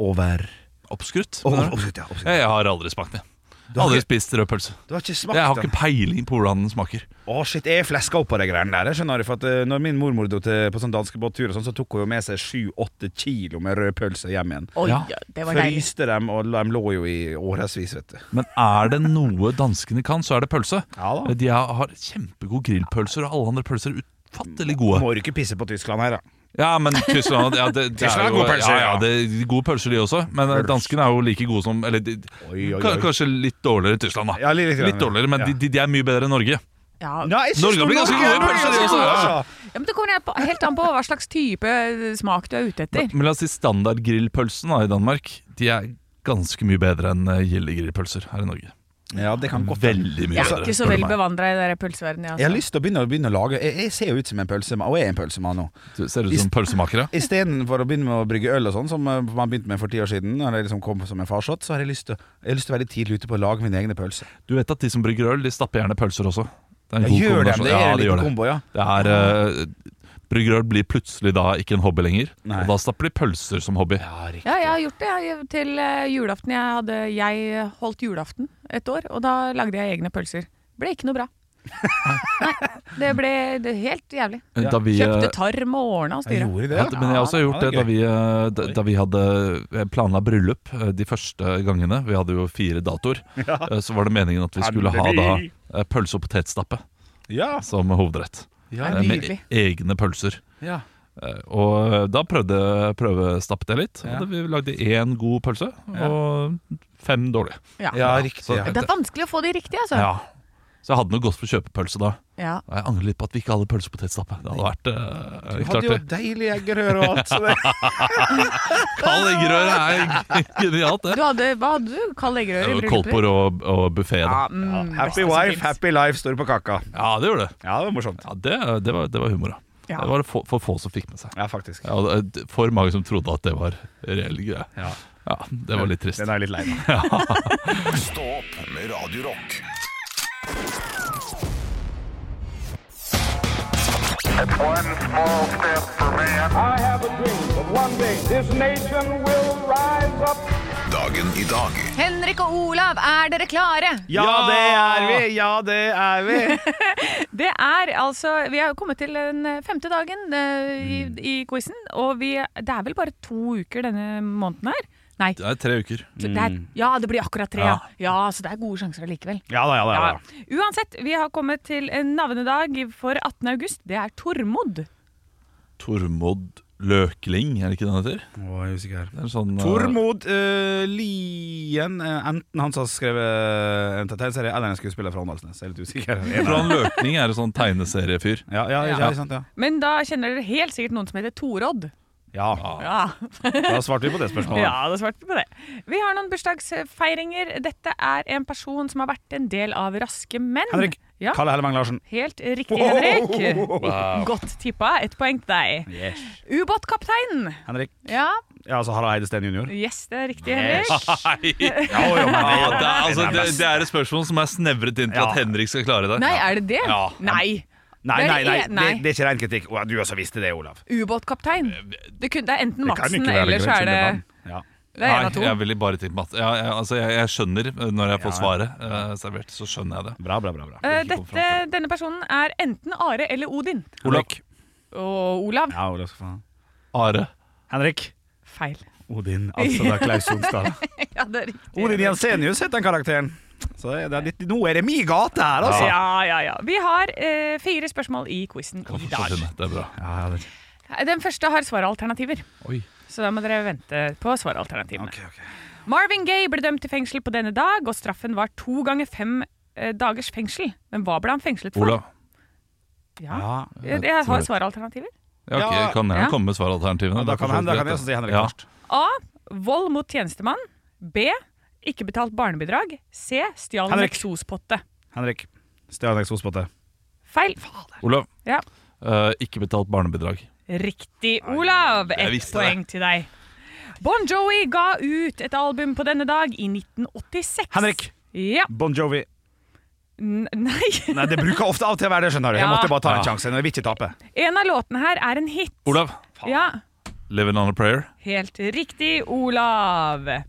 Speaker 4: over
Speaker 3: Oppskrutt.
Speaker 4: Å,
Speaker 3: mener du? Sånn,
Speaker 4: Oppskrytt, ja. oppskrytt.
Speaker 3: Eh, Jeg har aldri smakt det.
Speaker 4: Du har
Speaker 3: Aldri
Speaker 4: ikke,
Speaker 3: spist rød pølse.
Speaker 4: du har ikke smakt
Speaker 3: Jeg har
Speaker 4: den.
Speaker 3: ikke peiling på hvordan den smaker.
Speaker 4: Å shit, Jeg er fleska opp på de greiene der. jeg skjønner du, for at eh, Når min mormor dro til, på sånn danskebåttur, og sånn, så tok hun jo med seg sju-åtte kilo med rød pølse hjem igjen.
Speaker 2: Oi,
Speaker 3: Ja.
Speaker 2: ja, det var deilig.
Speaker 4: Fryste dem, og de lå jo i årevis, vet du.
Speaker 3: Men er det noe danskene kan, så er det pølse.
Speaker 4: Ja da.
Speaker 3: De har har kjempegode grillpølser, og alle andre pølser er utfattelig gode.
Speaker 4: Må du ikke pisse på Tyskland her, da.
Speaker 3: Ja, men Tyskland ja, det, det
Speaker 4: Tyskland har
Speaker 3: jo-
Speaker 4: gode pølser,
Speaker 3: Ja, ja,
Speaker 4: ja.
Speaker 3: det er gode pølser, de også. Men eh, danskene er jo like gode som Eller de,
Speaker 4: Oi, oi,
Speaker 3: ka-
Speaker 4: oi.
Speaker 3: kanskje litt dårligere enn Tyskland, da.
Speaker 4: Ja, litt grann,
Speaker 3: Litt dårligere, men
Speaker 4: ja.
Speaker 3: de, de, de er mye bedre enn Norge.
Speaker 2: Ja.
Speaker 4: Nei, jeg synes
Speaker 3: Norge
Speaker 4: nå-
Speaker 3: blir ganske
Speaker 4: Norge
Speaker 3: gode
Speaker 4: er
Speaker 3: pølser,
Speaker 4: ganske
Speaker 3: de også,
Speaker 4: gode,
Speaker 3: ja.
Speaker 4: altså.
Speaker 2: Ja, men det kommer helt- helt an på hva slags type smak du er ute etter.
Speaker 3: Men, men la oss si standardgrillpølsen da, i Danmark. De er ganske mye bedre enn eh, gildegrillpølser her i Norge.
Speaker 4: Ja, det kan godt være.
Speaker 3: Veldig mye
Speaker 2: Jeg er
Speaker 3: bedre.
Speaker 2: ikke så
Speaker 3: spør du
Speaker 2: vel
Speaker 3: meg.
Speaker 2: bevandra i den pølseverdenen.
Speaker 4: altså, Jeg har lyst til å begynne, å begynne å lage jeg, jeg ser jo ut som en pølsemann, og jeg er en pølsemann nå.
Speaker 3: Du Ser ut som pølsemakere.
Speaker 4: Istedenfor å begynne med å brygge øl og sånn, som eh, man begynte med for ti år siden, når jeg liksom kom som en farsott, så har jeg lyst til, å- jeg har lyst til å være litt tidlig ute på å lage mine egne pølser.
Speaker 3: Du vet at de som brygger øl, de stapper gjerne pølser også. Det er en
Speaker 4: Jeg
Speaker 3: god
Speaker 4: gjør det,
Speaker 3: kombinasjon.
Speaker 4: det er
Speaker 3: Ja,
Speaker 4: en
Speaker 3: de gjør
Speaker 4: liten
Speaker 3: det.
Speaker 4: kombo, ja.
Speaker 3: Det er eh, Bryggerøl blir plutselig da ikke en hobby lenger.
Speaker 4: Nei.
Speaker 3: Og da stapper de pølser som hobby.
Speaker 2: Ja, jeg har gjort det jeg, til eh, julaften. Jeg, hadde, jeg holdt julaften et år, og da lagde jeg egne pølser. Ble ikke noe bra. Nei, det ble det helt jævlig.
Speaker 3: Da vi, eh,
Speaker 2: Kjøpte tarm og ordna og
Speaker 4: Jeg
Speaker 2: styra.
Speaker 4: gjorde det,
Speaker 3: ja,
Speaker 4: ja.
Speaker 3: men jeg har også gjort
Speaker 4: Ja,
Speaker 3: det
Speaker 4: det
Speaker 3: da
Speaker 4: er
Speaker 3: vi, eh, da, da vi hadde jeg planla bryllup eh, de første gangene. Vi hadde jo fire datoer. Eh, Så var det meningen at vi skulle ha da
Speaker 4: Endelig.
Speaker 3: eh, pølse og potetstappe
Speaker 4: Ja,
Speaker 3: som hovedrett.
Speaker 4: ja,
Speaker 3: Eh, Med
Speaker 2: Nydelig.
Speaker 3: e- egne pølser.
Speaker 4: ja.
Speaker 3: Eh, Og da prøvde prøvestappet jeg litt.
Speaker 4: Ja.
Speaker 3: Og det- Vi lagde én god pølse og fem dårlige.
Speaker 2: Ja.
Speaker 4: ja
Speaker 3: så-
Speaker 4: riktig. Ja.
Speaker 2: Det er vanskelig å få de riktige, altså.
Speaker 3: Ja. Så jeg hadde noe godt for kjøpepølse da.
Speaker 2: Ja.
Speaker 3: Og Jeg angrer litt på at vi ikke hadde pølse og potetstappe. Det hadde vært eh,
Speaker 4: Du
Speaker 3: klart
Speaker 4: hadde jo
Speaker 3: det.
Speaker 4: deilig eggerøre og alt. Så det.
Speaker 3: Kald eggerøre er genialt, det.
Speaker 2: Du hadde, hva hadde du? Kald eggerøre i
Speaker 3: Det var
Speaker 2: bryllupet?
Speaker 3: Kolpor og, og buffé, da.
Speaker 2: Ja, mm, beste
Speaker 4: Happy
Speaker 2: som
Speaker 4: wife,
Speaker 2: finnes.
Speaker 4: happy life, står det på kaka.
Speaker 3: Ja, det gjorde det.
Speaker 4: Ja, det var morsomt.
Speaker 3: Ja, det, det, var, det var humor, da.
Speaker 2: Ja.
Speaker 3: Det var det for, for få som fikk med seg.
Speaker 4: Ja, faktisk.
Speaker 3: Ja, og det- for mange som trodde at det var reell greie.
Speaker 4: Ja.
Speaker 3: Ja, det var litt trist.
Speaker 4: Den er jeg litt lei meg.
Speaker 1: Stå opp med Radio Rock.
Speaker 6: I have a dream that one day this nation will rise up.
Speaker 1: Dagen i dag
Speaker 2: Henrik og Olav, er dere klare?
Speaker 4: Ja, det er vi! Ja, det er vi!
Speaker 2: Det er altså Vi har kommet til den femte dagen eh, i, i quizen, og vi, det er vel bare to uker denne måneden her? Nei.
Speaker 3: Det er tre uker.
Speaker 2: Så det
Speaker 4: Mm.
Speaker 2: er, ja, det blir akkurat tre. Ja. ja, så det er gode sjanser allikevel.
Speaker 4: Ja da, ja da. Ja, da.
Speaker 2: Uansett, vi har kommet til en navnedag for 18. august. Det er Tormod.
Speaker 3: Tormod Løkling, er det ikke det han heter?
Speaker 4: Å, jeg er usikker.
Speaker 3: Det er en sånn, eh,
Speaker 4: Tormod eh, Lien, eh, enten han som har skrevet eh, en tegneserie, eller en skuespiller fra Åndalsnes. Jeg er litt usikker.
Speaker 3: Jeg tror han Løkling er en sånn tegneseriefyr.
Speaker 4: Ja, ja, ja,
Speaker 2: Ja.
Speaker 4: ikke sant, ja.
Speaker 2: Men da kjenner dere helt sikkert noen som heter Torodd.
Speaker 4: ja,
Speaker 2: Ja,
Speaker 4: da svarte vi på det spørsmålet.
Speaker 2: ja da svarte vi på det. Vi har noen bursdagsfeiringer. Dette er en person som har vært en del av Raske menn.
Speaker 4: Henrik.
Speaker 2: Ja,
Speaker 4: Kalle Hellemang Larsen.
Speaker 2: helt riktig, Henrik. Godt tippa. Ett poeng til deg.
Speaker 4: Yes.
Speaker 2: Ubåtkapteinen.
Speaker 4: Henrik.
Speaker 2: Ja,
Speaker 4: Ja, altså Harald Eide Steen jr.
Speaker 2: yes, det er riktig, Henrik.
Speaker 3: Nei!
Speaker 4: Ja, jo, men
Speaker 3: Ja,
Speaker 4: det-
Speaker 3: det, er, altså,
Speaker 4: Den er
Speaker 3: det,
Speaker 4: best.
Speaker 3: det er et spørsmål som er snevret inn til
Speaker 4: Ja.
Speaker 3: at Henrik skal klare det.
Speaker 2: Nei, er det det?
Speaker 3: Ja.
Speaker 2: Nei.
Speaker 4: Nei, nei, nei,
Speaker 2: Det e- er-
Speaker 4: det, det er ikke ren kritikk. Å, du også visste det, Olav.
Speaker 2: Ubåtkaptein. Det, kun, det er enten
Speaker 4: Det kan
Speaker 2: Madsen,
Speaker 4: ikke være
Speaker 2: eller så
Speaker 4: Grønn
Speaker 2: er det,
Speaker 4: Sundeland. ja.
Speaker 2: det er en
Speaker 3: Nei,
Speaker 2: av to.
Speaker 3: jeg ville bare til Mats. Ja, jeg, altså, jeg, jeg skjønner eh, når jeg får
Speaker 4: Ja.
Speaker 3: svaret eh, servert, så skjønner jeg det.
Speaker 4: Bra, bra, bra. bra.
Speaker 2: Eh,
Speaker 3: ikke kom
Speaker 2: dette, denne personen er enten Are eller Odin.
Speaker 3: Olav.
Speaker 2: Og Olav
Speaker 4: Ja, Olav skal faen.
Speaker 3: Are.
Speaker 4: Henrik.
Speaker 2: feil.
Speaker 4: Odin, altså da Klaus Sonstad.
Speaker 2: Ja, det er riktig.
Speaker 4: Odin Jensenius heter den karakteren. Så det er litt, nå er det mi gate her, altså.
Speaker 2: Ja, ja, ja. Vi har eh, fire spørsmål i quizen i dag. Eh,
Speaker 3: Det er bra.
Speaker 4: Ja, ja, det,
Speaker 2: Den første har svaralternativer,
Speaker 3: Oi.
Speaker 2: så da må dere vente på svaralternativene. Marvin Gaye ble dømt til fengsel på denne dag, og straffen var to ganger fem eh, dagers fengsel. Men hva ble han fengslet for?
Speaker 3: Olav.
Speaker 2: Ja.
Speaker 4: Ja.
Speaker 2: Jeg, jeg har svaralternativer.
Speaker 3: Ja, ok,
Speaker 4: Ja.
Speaker 3: Kan jeg
Speaker 2: Ja.
Speaker 3: komme med
Speaker 4: Da
Speaker 3: svaralternativene? Det er
Speaker 4: kan,
Speaker 3: for så
Speaker 4: han, da
Speaker 3: vidt
Speaker 4: kan
Speaker 3: greit,
Speaker 4: jeg også si Henrik
Speaker 3: ja.
Speaker 4: først.
Speaker 2: A. Vold mot tjenestemann. B. Ikke betalt barnebidrag. C. Stjal en
Speaker 4: Henrik.
Speaker 2: eksospotte.
Speaker 4: Henrik. Stjal en eksospotte.
Speaker 2: Feil. Fader.
Speaker 3: Olav.
Speaker 2: Ja.
Speaker 3: Eh, ikke betalt barnebidrag.
Speaker 2: Riktig, Olav.
Speaker 3: jeg
Speaker 2: Ett
Speaker 3: visste det.
Speaker 2: poeng til deg. Bon Jovi ga ut et album på denne dag i 1986.
Speaker 4: Henrik.
Speaker 2: Ja.
Speaker 4: Bon Jovi.
Speaker 2: N nei.
Speaker 4: Nei, det bruker ofte av og til å være det, skjønner du. Jeg
Speaker 2: Ja.
Speaker 4: måtte bare ta en
Speaker 3: Ja.
Speaker 4: sjanse. Jeg vil ikke tape.
Speaker 2: En av låtene her er en hit.
Speaker 3: Olav.
Speaker 2: Ja.
Speaker 3: Living on a prayer.
Speaker 2: Helt riktig, Olav.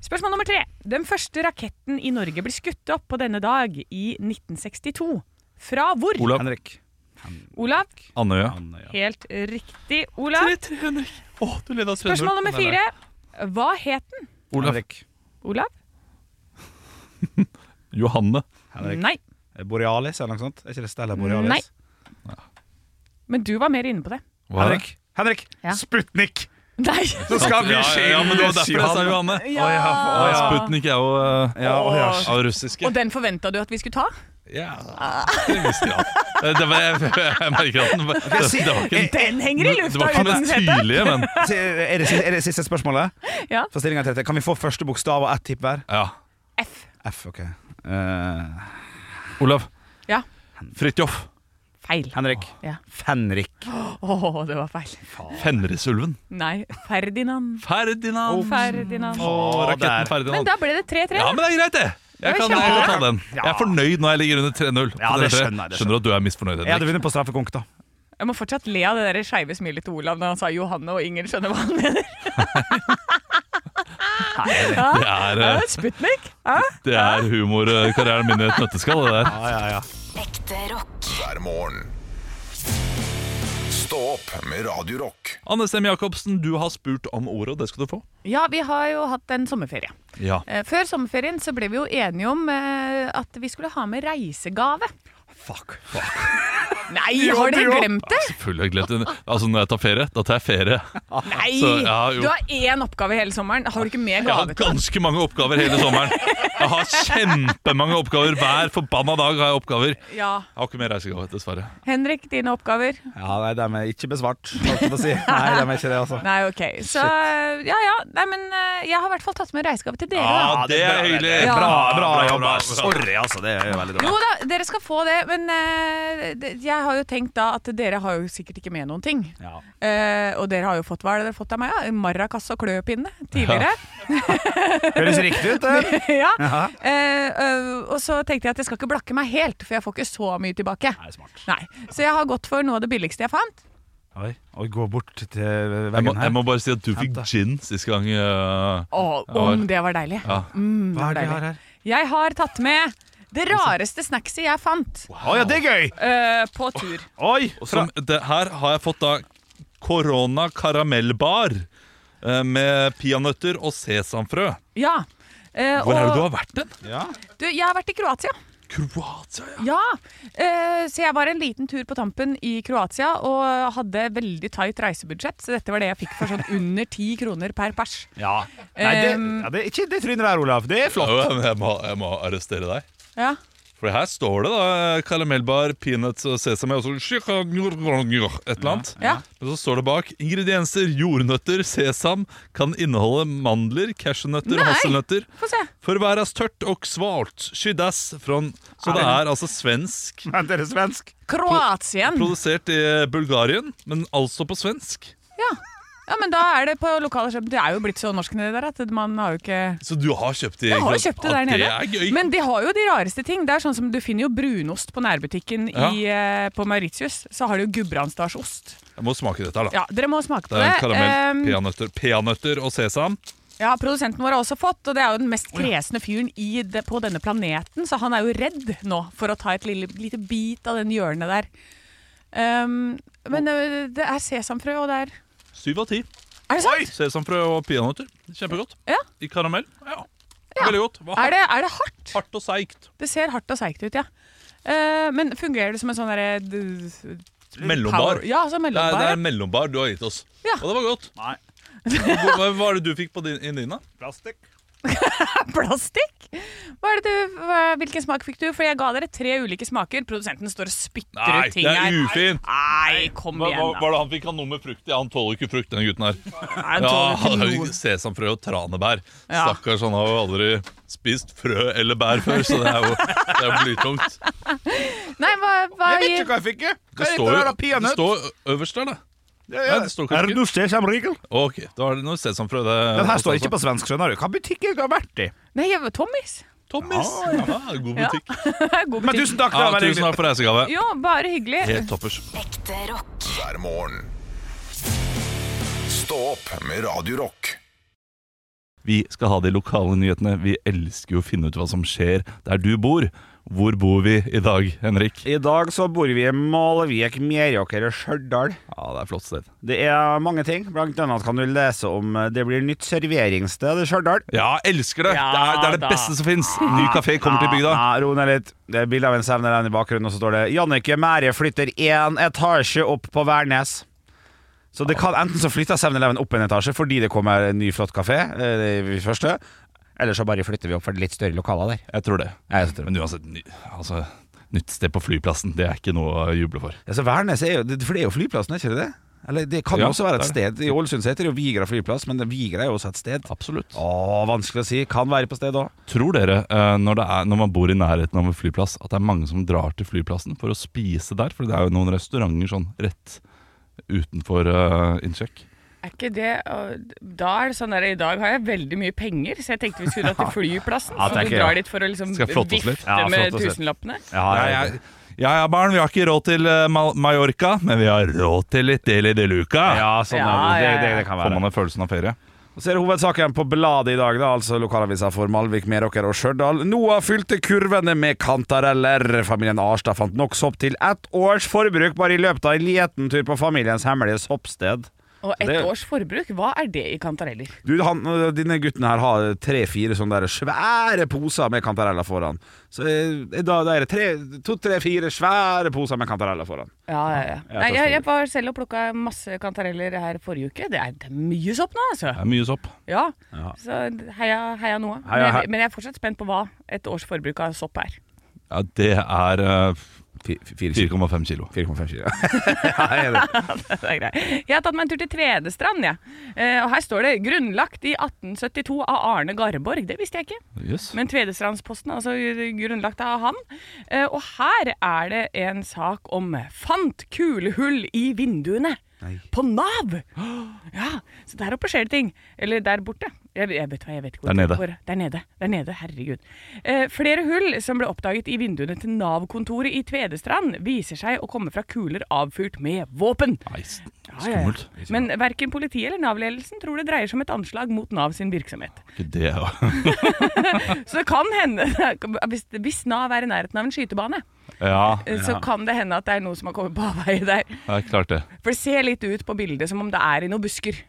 Speaker 2: Spørsmål nummer tre. Den første raketten i Norge ble skutt opp på denne dag i 1962. Fra hvor?
Speaker 3: Olav
Speaker 4: Henrik.
Speaker 2: Olav.
Speaker 3: Andøya.
Speaker 4: Andøya.
Speaker 2: Helt riktig, Olav.
Speaker 3: Åh, du leda 3-0.
Speaker 2: Spørsmål nummer fire. Hva het den?
Speaker 3: Olav.
Speaker 4: Henrik.
Speaker 2: Olav?
Speaker 3: Johanne.
Speaker 4: Henrik.
Speaker 2: Nei.
Speaker 4: Borealis eller noe sånt? Er ikke det Stella Borealis?
Speaker 2: Nei. Men du var mer inne på det.
Speaker 3: Hva er det?
Speaker 4: Henrik. Henrik.
Speaker 2: Ja.
Speaker 4: Sputnik!
Speaker 2: Nei.
Speaker 4: Nå skal vi
Speaker 3: Ja, ja, ja, men det var
Speaker 4: skilles,
Speaker 3: derfor jeg sa
Speaker 4: Johan.
Speaker 3: Johanne.
Speaker 2: Ja.
Speaker 3: Ah, Sputnik er jo eh,
Speaker 4: Ja, å, ja.
Speaker 3: av russiske.
Speaker 2: Og den forventa du at vi skulle ta?
Speaker 3: Ja, det visste jeg. Eh, Det var, jeg, jeg merker at den var, det, det var ikke
Speaker 2: Den henger i
Speaker 3: Eh, det
Speaker 2: lufta!
Speaker 3: var ikke
Speaker 2: uten
Speaker 3: den mest
Speaker 2: sete.
Speaker 3: tydelige, men
Speaker 4: Se, Er det, si- er det siste spørsmålet?
Speaker 2: Ja.
Speaker 4: For stillingen er 30. Kan vi få første bokstav og ett tipp hver?
Speaker 3: ja.
Speaker 2: F.
Speaker 4: F, OK. Eh,
Speaker 3: Olav.
Speaker 2: Ja.
Speaker 3: Fridtjof.
Speaker 2: Feil.
Speaker 4: Henrik.
Speaker 2: Ja.
Speaker 4: Fenrik.
Speaker 2: Å, det var feil.
Speaker 3: Fenrisulven.
Speaker 2: Nei. Ferdinand.
Speaker 3: Ferdinand.
Speaker 2: Ferdinand.
Speaker 3: Åh, raketten
Speaker 2: Men
Speaker 3: Ferdinand.
Speaker 2: da ble det 3-3.
Speaker 3: Ja,
Speaker 2: da.
Speaker 3: men det er greit, det. Jeg
Speaker 2: Det var
Speaker 3: kan, jeg kan ta
Speaker 4: kjempebra.
Speaker 3: den. Jeg er fornøyd når jeg ligger under 3-0. på
Speaker 4: Ja, det
Speaker 3: dette.
Speaker 4: skjønner jeg, det
Speaker 3: Skjønner at du er misfornøyd.
Speaker 4: Jeg hadde
Speaker 3: Henrik.
Speaker 4: vunnet på straffekonk, da.
Speaker 2: Jeg må fortsatt le av det der skeive smilet til Olav når han sa Johanne og ingen skjønner hva han mener.
Speaker 3: Det er, eh,
Speaker 2: Sputnik.
Speaker 3: det er humorkarrieren min i et nøtteskall. Det der.
Speaker 5: Ekte rock.
Speaker 1: hver morgen. Stå opp med Radio Rock.
Speaker 3: Anne Stem Jacobsen, du har spurt om ordet, og det skal du få.
Speaker 2: Ja, vi har jo hatt en sommerferie.
Speaker 3: Ja.
Speaker 2: Eh, Før sommerferien så ble vi jo enige om eh, at vi skulle ha med reisegave.
Speaker 4: Fuck.
Speaker 2: Nei, har dere glemt det?
Speaker 3: Selvfølgelig har jeg glemt det. Altså, når jeg tar ferie, da tar jeg ferie.
Speaker 2: Nei!
Speaker 3: Så, ja, jo.
Speaker 2: du har én oppgave hele sommeren. Har du ikke mer
Speaker 3: Jeg har
Speaker 2: gave? til?
Speaker 3: ganske mange oppgaver hele sommeren. Jeg har kjempemange oppgaver. Hver forbanna dag har jeg oppgaver. Jeg
Speaker 2: Ja.
Speaker 3: har ikke mer reisegave, dessverre.
Speaker 2: Henrik, dine oppgaver?
Speaker 4: Ja, nei, de er ikke besvart, holdt jeg på å si. Nei, de er ikke det, altså.
Speaker 2: Nei, OK. Så ja, ja. Nei, men eh, jeg har i hvert fall tatt med reisegave til dere. da.
Speaker 4: Ah.
Speaker 3: Ja, det er hyggelig.
Speaker 2: Ja.
Speaker 4: Bra, bra
Speaker 3: Bra,
Speaker 4: jobba.
Speaker 3: bra, bra.
Speaker 4: Sorry, altså. Det er jo veldig
Speaker 2: Jo
Speaker 4: dårlig.
Speaker 2: da, dere skal få det, men eh, det- jeg har jo tenkt da at dere har jo sikkert ikke med noen ting.
Speaker 4: Ja.
Speaker 2: Eh, og dere har jo fått hva er det dere har fått av meg? Ja? Maracas og kløpinne tidligere.
Speaker 4: Høres riktig ut, det.
Speaker 2: Ja.
Speaker 4: Jaha.
Speaker 2: Eh, eh, og så tenkte jeg at jeg skal ikke blakke meg helt, for jeg får ikke så mye tilbake.
Speaker 4: Nei, smart.
Speaker 2: Nei. Så jeg har gått for noe av det billigste jeg fant.
Speaker 4: Oi, Oi gå bort til
Speaker 3: Jeg må,
Speaker 4: veggen
Speaker 3: jeg
Speaker 4: her.
Speaker 3: må bare si at du fikk
Speaker 4: Hent det.
Speaker 3: gin sist gang. eh,
Speaker 2: Å, om det var deilig.
Speaker 3: Ja.
Speaker 2: Mm,
Speaker 4: Hva er det
Speaker 2: deilig.
Speaker 4: vi har her?
Speaker 2: Jeg har tatt med det rareste snackset jeg fant
Speaker 4: Å ja, det er gøy!
Speaker 2: eh, på tur.
Speaker 4: Oi!
Speaker 3: Og som, det, her har jeg fått da Corona karamellbar eh, med peanøtter og sesamfrø.
Speaker 2: Ja. Eh,
Speaker 3: Hvor er det du
Speaker 2: og-
Speaker 3: har vært den?
Speaker 4: Ja.
Speaker 2: Du, jeg har vært i Kroatia.
Speaker 3: Kroatia, ja.
Speaker 2: Ja, eh, så jeg var en liten tur på tampen i Kroatia og hadde veldig tight reisebudsjett, så dette var det jeg fikk for sånn under ti kroner per pers.
Speaker 4: ja. Nei, det,
Speaker 2: Um,
Speaker 4: ja, det er ikke det trynet der, Olav. Det er flott.
Speaker 3: Jo, Jeg må, jeg må arrestere deg.
Speaker 2: Ja.
Speaker 3: For her står det da karamellbar, peanuts og sesam og så et eller annet.
Speaker 2: Ja.
Speaker 3: Men så står det bak ingredienser jordnøtter, sesam, kan inneholde mandler, cashewnøtter,
Speaker 2: Nei.
Speaker 3: hasselnøtter.
Speaker 2: Få se.
Speaker 3: Forværas tørt og svalt. Skyddas fra Så det er altså svensk.
Speaker 4: Men dere er svensk.
Speaker 2: Kroatien.
Speaker 3: Produsert i eh, Bulgarien, men altså på svensk.
Speaker 2: Ja. ja, men da er det på lokale kjøp. Det er jo blitt så norsk nedi der at man har jo ikke
Speaker 3: Så du har kjøpt det?
Speaker 2: jeg har jo
Speaker 3: ikke sant?
Speaker 2: kjøpt det der
Speaker 3: Ja,
Speaker 2: nede.
Speaker 3: Det er gøy.
Speaker 2: Men de har jo de rareste ting. Det er sånn som Du finner jo brunost på nærbutikken i, eh, på Mauritius. Så har de jo Gudbrandsdalsost.
Speaker 3: Jeg må smake dette her, da.
Speaker 2: Ja, dere må smake på
Speaker 3: Det er en
Speaker 2: det.
Speaker 3: karamell,
Speaker 2: Ehm,
Speaker 3: peanøtter, peanøtter og sesam.
Speaker 2: Ja, Produsenten vår har også fått, og det er jo den mest kresne fyren i det, på denne planeten. Så han er jo redd nå for å ta et lille, lite bit av den hjørnet der. Ehm, men ø, det er sesamfrø, og det er
Speaker 3: Syv av ti.
Speaker 2: Er det sant?
Speaker 3: Sesamfrø og peanøtter. Kjempegodt.
Speaker 2: Ja.
Speaker 3: I karamell. Ja.
Speaker 2: Ja.
Speaker 3: Veldig godt.
Speaker 2: Er
Speaker 3: Var hardt,
Speaker 2: det, er det hardt?
Speaker 3: hardt og seigt.
Speaker 2: Det ser hardt og seigt ut, ja. Eh, men fungerer det som en sånn derre d-
Speaker 3: Mellombar.
Speaker 2: power- Ja, altså
Speaker 3: Det er,
Speaker 2: mellombar.
Speaker 3: det
Speaker 2: ja.
Speaker 3: er mellombar du har gitt oss.
Speaker 2: Ja.
Speaker 3: Og det var godt.
Speaker 4: Nei.
Speaker 3: Hva hva var det du fikk på din, i din, da?
Speaker 4: Plastikk.
Speaker 2: Plastikk? Hva er det du, hva, hvilken smak fikk du? For jeg ga dere tre ulike smaker. Produsenten står og spytter
Speaker 3: Nei,
Speaker 2: ut ting
Speaker 3: det er
Speaker 2: her.
Speaker 3: ufint!
Speaker 2: Nei, kom
Speaker 3: Hva,
Speaker 2: igjen,
Speaker 3: hva,
Speaker 2: da.
Speaker 3: var det han fikk han noe med frukt i? Han tåler jo ikke frukt, denne gutten her.
Speaker 2: Nei, han tåler
Speaker 3: Ja, han har
Speaker 2: ikke
Speaker 3: jo
Speaker 2: noe.
Speaker 3: ikke sesamfrø og tranebær.
Speaker 2: Ja.
Speaker 3: Stakkars, han har jo aldri spist frø eller bær før, så det er jo, det er jo blytungt.
Speaker 2: Nei, hva, hva
Speaker 4: Jeg vet
Speaker 2: gir
Speaker 4: ikke hva jeg fikk. jeg. Hva
Speaker 3: Det
Speaker 4: er dette
Speaker 3: står, jo-
Speaker 4: der, da?
Speaker 3: det
Speaker 4: Peanøtt?
Speaker 3: står øverst der, da.
Speaker 4: Ja,
Speaker 3: Nei, det står kanskje ikke.
Speaker 4: ikke.
Speaker 3: Ok, da er det noe sesamfrø. Det,
Speaker 4: Den her står ikke på svensk, skjønner du. Hva butikken du har vært i?
Speaker 2: Nei, jeg var Tommis.
Speaker 3: Tommis! Ja, god
Speaker 2: Ah, Ja.
Speaker 3: butikk.
Speaker 2: God
Speaker 4: Men
Speaker 2: butikk.
Speaker 4: tusen takk, det
Speaker 3: Ja,
Speaker 4: var veldig
Speaker 3: tusen
Speaker 4: hyggelig.
Speaker 3: takk for reisegave.
Speaker 2: Jo, bare hyggelig.
Speaker 3: Helt toppers.
Speaker 5: Ekte rock.
Speaker 1: hver morgen. Stå opp med Radio Rock.
Speaker 3: Vi skal ha de lokale nyhetene. Vi elsker jo å finne ut hva som skjer der du bor. Hvor bor vi i dag, Henrik?
Speaker 4: I dag så bor vi i Malvik, Meråker og Stjørdal.
Speaker 3: Ja, det er et flott sted.
Speaker 4: Det er mange ting. Blant annet kan du lese om eh, det blir nytt serveringssted i Stjørdal.
Speaker 3: Ja, elsker det!
Speaker 2: Ja,
Speaker 3: det, er, det er det
Speaker 2: da.
Speaker 3: beste som fins! Ny kafé kommer til bygda.
Speaker 4: Ja, Ah, Ro ned litt. Det er bilde av en sevner her i bakgrunnen, og så står det 'Jannicke Mære flytter én etasje opp på Værnes'. Så det kan enten så flytter 7-Eleven opp en etasje fordi det kommer en ny, flott kafé, eh, det første, eller så bare flytter vi opp for litt større lokaler der.
Speaker 3: Jeg tror det.
Speaker 4: Jeg tror det.
Speaker 3: Men uansett, ny, altså, nytt sted på flyplassen, det er ikke noe å juble for.
Speaker 4: Ja, så Værnes er jo, det- for det er jo flyplassen, er ikke det det? Eller det kan jo
Speaker 3: Ja,
Speaker 4: også være et
Speaker 3: det
Speaker 4: sted. I Ålesund så heter det jo Vigra flyplass, men det- Vigra er jo også et sted.
Speaker 3: Absolutt.
Speaker 4: Å, vanskelig å si. Kan være på sted òg.
Speaker 3: Tror dere, eh, når, det er, når man bor i nærheten av en flyplass, at det er mange som drar til flyplassen for å spise der? For det er jo noen restauranter sånn rett utenfor eh, innsjekk.
Speaker 2: Er ikke det og Da er det sånn der I dag har jeg veldig mye penger, så jeg tenkte vi skulle dra til flyplassen.
Speaker 4: Ja,
Speaker 2: så
Speaker 4: tenker
Speaker 2: vi
Speaker 4: jeg.
Speaker 2: drar dit for å liksom
Speaker 3: Skal flotte oss litt.
Speaker 2: vifte
Speaker 4: Ja,
Speaker 2: med
Speaker 4: flotte oss litt.
Speaker 2: tusenlappene.
Speaker 4: Ja,
Speaker 3: Ja, ja, ja, ja, barn, vi har ikke råd til eh, Ma- Mallorca, men vi har råd til litt Deli de Luca.
Speaker 4: Ja, sånn
Speaker 2: Ja,
Speaker 4: er det.
Speaker 2: ja,
Speaker 4: Det,
Speaker 2: ja.
Speaker 4: det. Det kan
Speaker 3: Får
Speaker 4: være.
Speaker 3: man den følelsen av ferie?
Speaker 4: Og Så er det hovedsaken på bladet i dag, da, altså lokalavisa for Malvik, Meråker og Stjørdal. Noah fylte kurvene med kantareller. Familien Arstad fant nok sopp til ett års forbruk bare i løpet av en liten tur på familiens hemmelige soppsted.
Speaker 2: Og ett
Speaker 4: Det-
Speaker 2: års forbruk, hva er det i kantareller?
Speaker 4: Du, han, Denne gutten her har tre-fire sånne der svære poser med kantareller foran. Så eh, da, da er det tre- to-tre-fire svære poser med kantareller foran.
Speaker 2: Ja, ja, ja.
Speaker 4: Ja,
Speaker 2: Nei,
Speaker 4: jeg tar
Speaker 2: jeg, jeg var selv og plukka masse kantareller her forrige uke. Det er, det er mye sopp nå, altså.
Speaker 3: Det er mye sopp.
Speaker 2: Ja.
Speaker 4: Ja.
Speaker 2: Så heia, heia Noah. Men,
Speaker 4: Heia,
Speaker 2: jeg-
Speaker 4: hei-
Speaker 2: men jeg er fortsatt spent på hva et års forbruk av sopp er.
Speaker 3: Ja, det er eh,
Speaker 4: Fi- fi- Fire kilo.
Speaker 3: 4,5 kilo.
Speaker 4: 4,5 kilo. ja, jeg er det.
Speaker 2: Det er greit. Jeg har tatt meg en tur til Tvedestrand, jeg. Eh, og her står det 'Grunnlagt i 1872 av Arne Garborg'. Det visste jeg ikke.
Speaker 3: Yes.
Speaker 2: Men Tvedestrandsposten, altså grunnlagt av han. Eh, Og her er det en sak om 'fant kulehull i vinduene'. På Nav! Ja, Så der oppe skjer det ting. Eller der borte. Jeg, jeg vet hva, jeg vet ikke hvor.
Speaker 3: Der nede.
Speaker 2: Hvor, der nede. Der nede, herregud. Eh, flere hull som ble oppdaget i vinduene til Nav-kontoret i Tvedestrand, viser seg å komme fra kuler avfyrt med våpen.
Speaker 3: Nei, s-
Speaker 2: Ja, ja, ja.
Speaker 3: skummelt.
Speaker 2: Men verken politiet eller Nav-ledelsen tror det dreier seg om et anslag mot Nav sin virksomhet.
Speaker 3: Ikke det, ja.
Speaker 2: Så det kan hende, hvis, hvis Nav er i nærheten av en skytebane, eh,
Speaker 3: ja,
Speaker 2: så kan det hende at det er noe som har kommet på avveie der.
Speaker 3: det er klart det.
Speaker 2: For det ser litt ut på bildet som om det er i noen busker.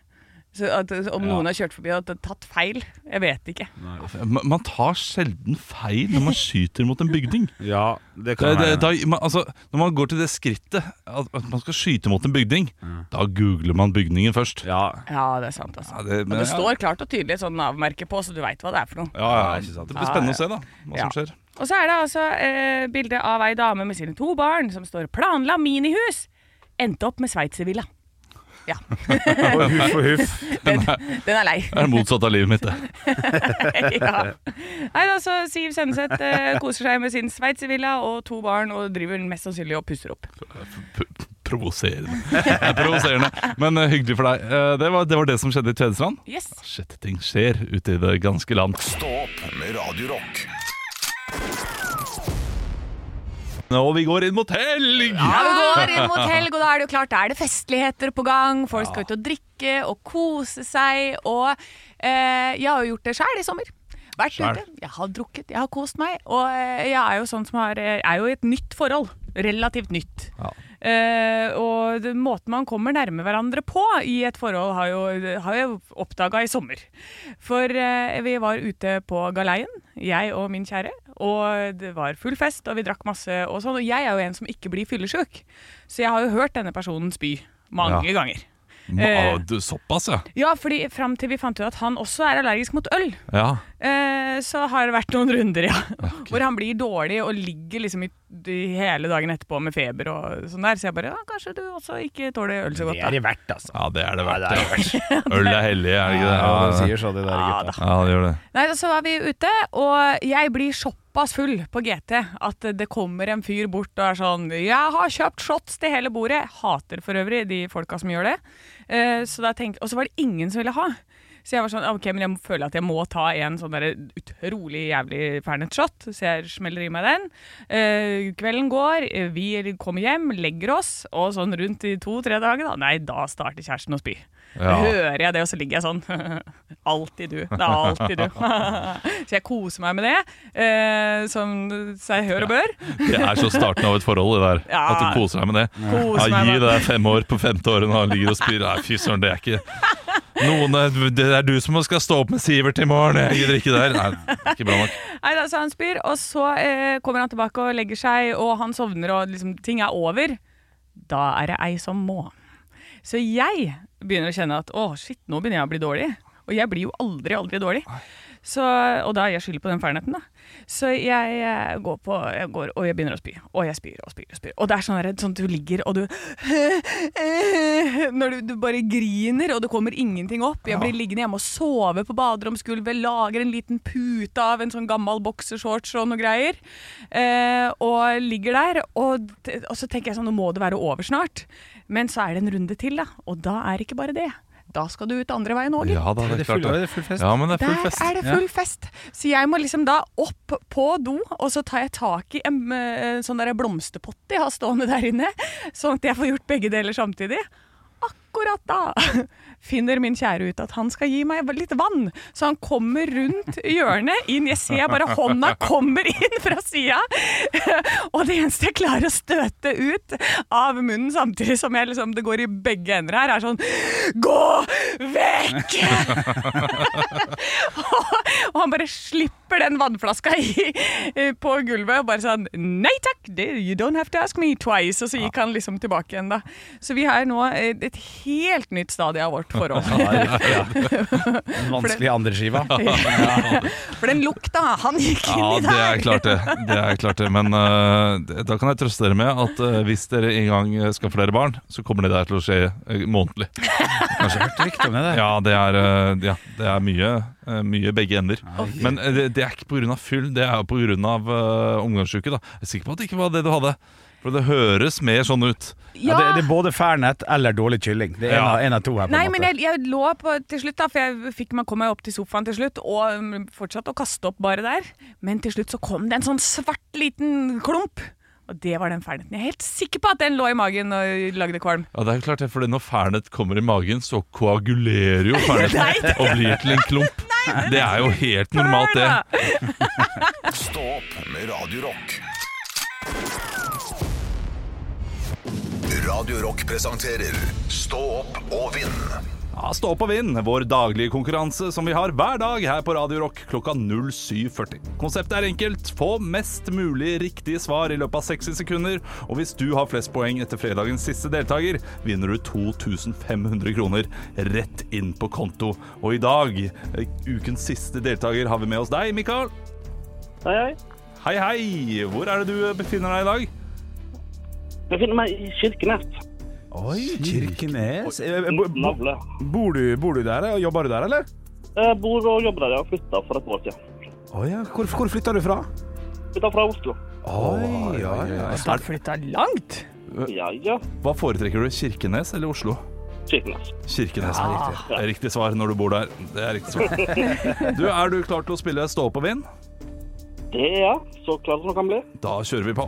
Speaker 2: Så at, eh, om noen har kjørt forbi og tatt feil. Jeg vet ikke.
Speaker 3: Ma- Man tar sjelden feil når man skyter mot en bygning.
Speaker 4: Ja, det
Speaker 3: Det,
Speaker 4: kan
Speaker 3: det,
Speaker 4: være.
Speaker 3: da, man, altså, når man går til det skrittet at, at man skal skyte mot en bygning, da googler man bygningen først.
Speaker 4: Ja,
Speaker 2: Ja, det er sant, altså.
Speaker 3: Ja, det,
Speaker 2: Og
Speaker 3: men,
Speaker 2: det står klart og tydelig et sånn Nav-merke på, så du veit hva det er for noe.
Speaker 3: ja, ja,
Speaker 4: Ja,
Speaker 3: ja.
Speaker 4: ikke sant.
Speaker 3: Det blir spennende å se da hva
Speaker 2: Ja.
Speaker 3: som skjer.
Speaker 2: Og så er det altså eh, bilde av ei dame med sine to barn som står planla minihus. Endte opp med sveitservilla. Ja.
Speaker 4: huff og huff.
Speaker 2: Den, den er lei.
Speaker 3: Det er motsatt av livet mitt. det.
Speaker 2: ja. Nei, altså, Siv Senneseth eh, koser seg med sin sveitservilla og to barn, og driver mest sannsynlig og pusser opp.
Speaker 3: P- Provoserende. Det er Provoserende. Men eh, hyggelig for deg. Eh, det, var, det var det som skjedde i Tvedestrand.
Speaker 2: Yes.
Speaker 3: Shit, ting skjer ute i det ganske land.
Speaker 1: Stå opp med Radio Rock.
Speaker 3: Og vi går inn mot helg!
Speaker 2: Ja, vi går inn mot helg, og da er det jo klart, da er det festligheter på gang. Folk skal ut og drikke og kose seg. Og eh, jeg har jo gjort det sjæl i sommer. Vært ute. Jeg har drukket, jeg har kost meg. Og eh, jeg er jo sånn som har eh, er jo i et nytt forhold. Relativt nytt. Eh, og det, måten man kommer nærme hverandre på i et forhold, har jo, har jeg oppdaga i sommer. For eh, vi var ute på galeien, jeg og min kjære. Og det var full fest, og vi drakk masse og sånn. Og jeg er jo en som ikke blir fyllesyk, så jeg har jo hørt denne personen spy mange
Speaker 3: Ja.
Speaker 2: ganger.
Speaker 3: Ma-
Speaker 2: Eh.
Speaker 3: ah, du, såpass, ja.
Speaker 2: Ja, fordi fram til vi fant ut at han også er allergisk mot øl.
Speaker 3: ja.
Speaker 2: Eh, så har det vært noen runder, ja. Hvor han blir dårlig og ligger liksom i, i hele dagen etterpå med feber og sånn der. Så jeg bare ja, kanskje du også ikke tåler øl så godt, da.
Speaker 4: det verdt, altså.
Speaker 3: Ja, det er det verdt. ja. Øl er hellig, er det ikke det?
Speaker 4: Ja, de
Speaker 3: Ja,
Speaker 4: sier så, de der gutta.
Speaker 3: ja, det gjør det.
Speaker 2: Nei, så var vi ute, og jeg blir såpass full på GT at det kommer en fyr bort og er sånn 'Jeg har kjøpt shots til hele bordet'. Jeg Hater for øvrig de folka som gjør det. Eh, så da tenk, og så var det ingen som ville ha. Så jeg var sånn, ok, men jeg føler at jeg må ta en sånn der utrolig jævlig fernet shot, så jeg smeller i meg den. Eh, kvelden går, eh, vi kommer hjem, legger oss, og sånn rundt i to-tre dager da, nei, da starter kjæresten å spy.
Speaker 3: Ja.
Speaker 2: hører jeg det, og så ligger jeg sånn. Alltid du. Det er alltid du. så jeg koser meg med det, eh, som seg hør og bør.
Speaker 3: Det er så starten av et forhold, det der.
Speaker 2: Ja.
Speaker 3: At du koser deg med det.
Speaker 2: Koser
Speaker 3: Ja,
Speaker 2: meg
Speaker 3: gi
Speaker 2: med
Speaker 3: det der fem år på femte året når han ligger og spyr. Nei, fy søren, det er ikke noen, Det er du som skal stå opp med Sivert i morgen. Jeg gidder ikke det her. Nei, det er ikke bra nok.
Speaker 2: Nei, da, så han spyr, og så eh, kommer han tilbake og legger seg, og han sovner, og liksom, ting er over. Da er det ei som må. Så jeg begynner å kjenne at å, shit, nå begynner jeg å bli dårlig. Og jeg blir jo aldri, aldri dårlig. Så, og da er jeg skyldig på den ferdigheten, da. Så jeg eh, går på jeg går, Og jeg begynner å spy. Og jeg spyr og spyr. Og spyr. Og det er sånn, der, sånn at du ligger og du Når du, du bare griner, og det kommer ingenting opp. Jeg blir liggende hjemme og sove på baderomsgulvet, lager en liten pute av en sånn gammel boksershorts og noe greier. Eh, og ligger der. Og, t- og så tenker jeg sånn, nå må det være over snart. Men så er det en runde til, da. Og da er det ikke bare det. Da skal du ut andre veien òg,
Speaker 3: Ja da, det er klart
Speaker 4: det
Speaker 3: det.
Speaker 4: er full fest.
Speaker 3: Ja, men det er
Speaker 2: der
Speaker 3: full fest.
Speaker 2: er det full fest. Så jeg må liksom da opp på do, og så tar jeg tak i en eh, sånn der blomsterpott jeg har stående der inne, sånn at jeg får gjort begge deler samtidig. Akkurat da finner min kjære ut at han skal gi meg litt vann. Så han kommer rundt hjørnet inn. Jeg ser bare hånda kommer inn fra sida. Og det eneste jeg klarer å støte ut av munnen samtidig som jeg liksom, det går i begge ender her, er sånn Gå vekk! og han bare slipper den vannflaska i, på gulvet og bare sånn Nei takk, det- you don't have to ask me twice. Og så gikk han liksom tilbake igjen, da. Så vi er nå et helt nytt stadie av vårt forhold.
Speaker 7: Den vanskelige andreskiva.
Speaker 2: For den lukta, han gikk inn
Speaker 3: Ja,
Speaker 2: i
Speaker 3: det
Speaker 2: der.
Speaker 3: er klart det. det, er klart det. Men eh, det- da kan jeg trøste dere med at eh, hvis dere en gang eh, skaffer dere barn, så kommer det der til å skje eh, månedlig. Ja, det er, eh, ja, det er mye, eh, mye begge ender. Men eh, det, det er ikke pga. fyll, det er pga. Uh, omgangsuke. Da. Jeg er sikker på at det ikke var det du hadde. For det høres mer sånn ut.
Speaker 7: Ja, det, det er både Fernet eller dårlig kylling. Det er en,
Speaker 3: Ja.
Speaker 7: av, en av to her. på en
Speaker 2: Nei,
Speaker 7: måte.
Speaker 2: men jeg, jeg lå på til slutt, da, for jeg fikk meg, kom meg opp til sofaen til slutt, og mm, fortsatte å kaste opp bare der. Men til slutt så kom det en sånn svart liten klump, og det var den ferdigheten. Jeg er helt sikker på at den lå i magen og lagde kvalm.
Speaker 3: Ja, det er jo klart det, for Når fernet kommer i magen, så koagulerer jo fernet og blir til en klump. Det er jo helt normalt, det.
Speaker 2: Hør da!
Speaker 1: Stå opp med Radio Rock. Radio Rock presenterer Stå opp og vinn.
Speaker 3: Ja, Stå opp og vinn, vår daglige konkurranse som vi har hver dag her på Radio Rock klokka 07.40. Konseptet er enkelt. Få mest mulig riktige svar i løpet av 60 sekunder. Og hvis du har flest poeng etter fredagens siste deltaker, vinner du 2500 kroner rett inn på konto. Og i dag, eh, ukens siste deltaker, har vi med oss deg, Mikael.
Speaker 8: Hei, hei.
Speaker 3: Hei, hei. Hvor er det du befinner deg i dag?
Speaker 8: Jeg finner meg i Kirkenes.
Speaker 7: Oi, Kirkenes. Eh, bo- bo-
Speaker 8: Navle.
Speaker 7: Bor du, bor du der, og jobber du der, eller?
Speaker 8: Jeg bor og jobber der jeg har flytta for et år siden.
Speaker 7: Å ja. Hvor, hvor flytta du fra?
Speaker 8: Flytta fra Oslo.
Speaker 7: Oi, ja, ja.
Speaker 2: Så har du flytta langt.
Speaker 8: Ja, ja.
Speaker 3: Hva foretrekker du, Kirkenes eller Oslo?
Speaker 8: Kirkenes.
Speaker 3: Kirkenes er riktig. Det er riktig svar når du bor der. Det er riktig svar. Du, Er du klar til å spille Stå opp og vinn?
Speaker 8: Det er jeg. Så klar som jeg kan bli.
Speaker 3: Da kjører vi på.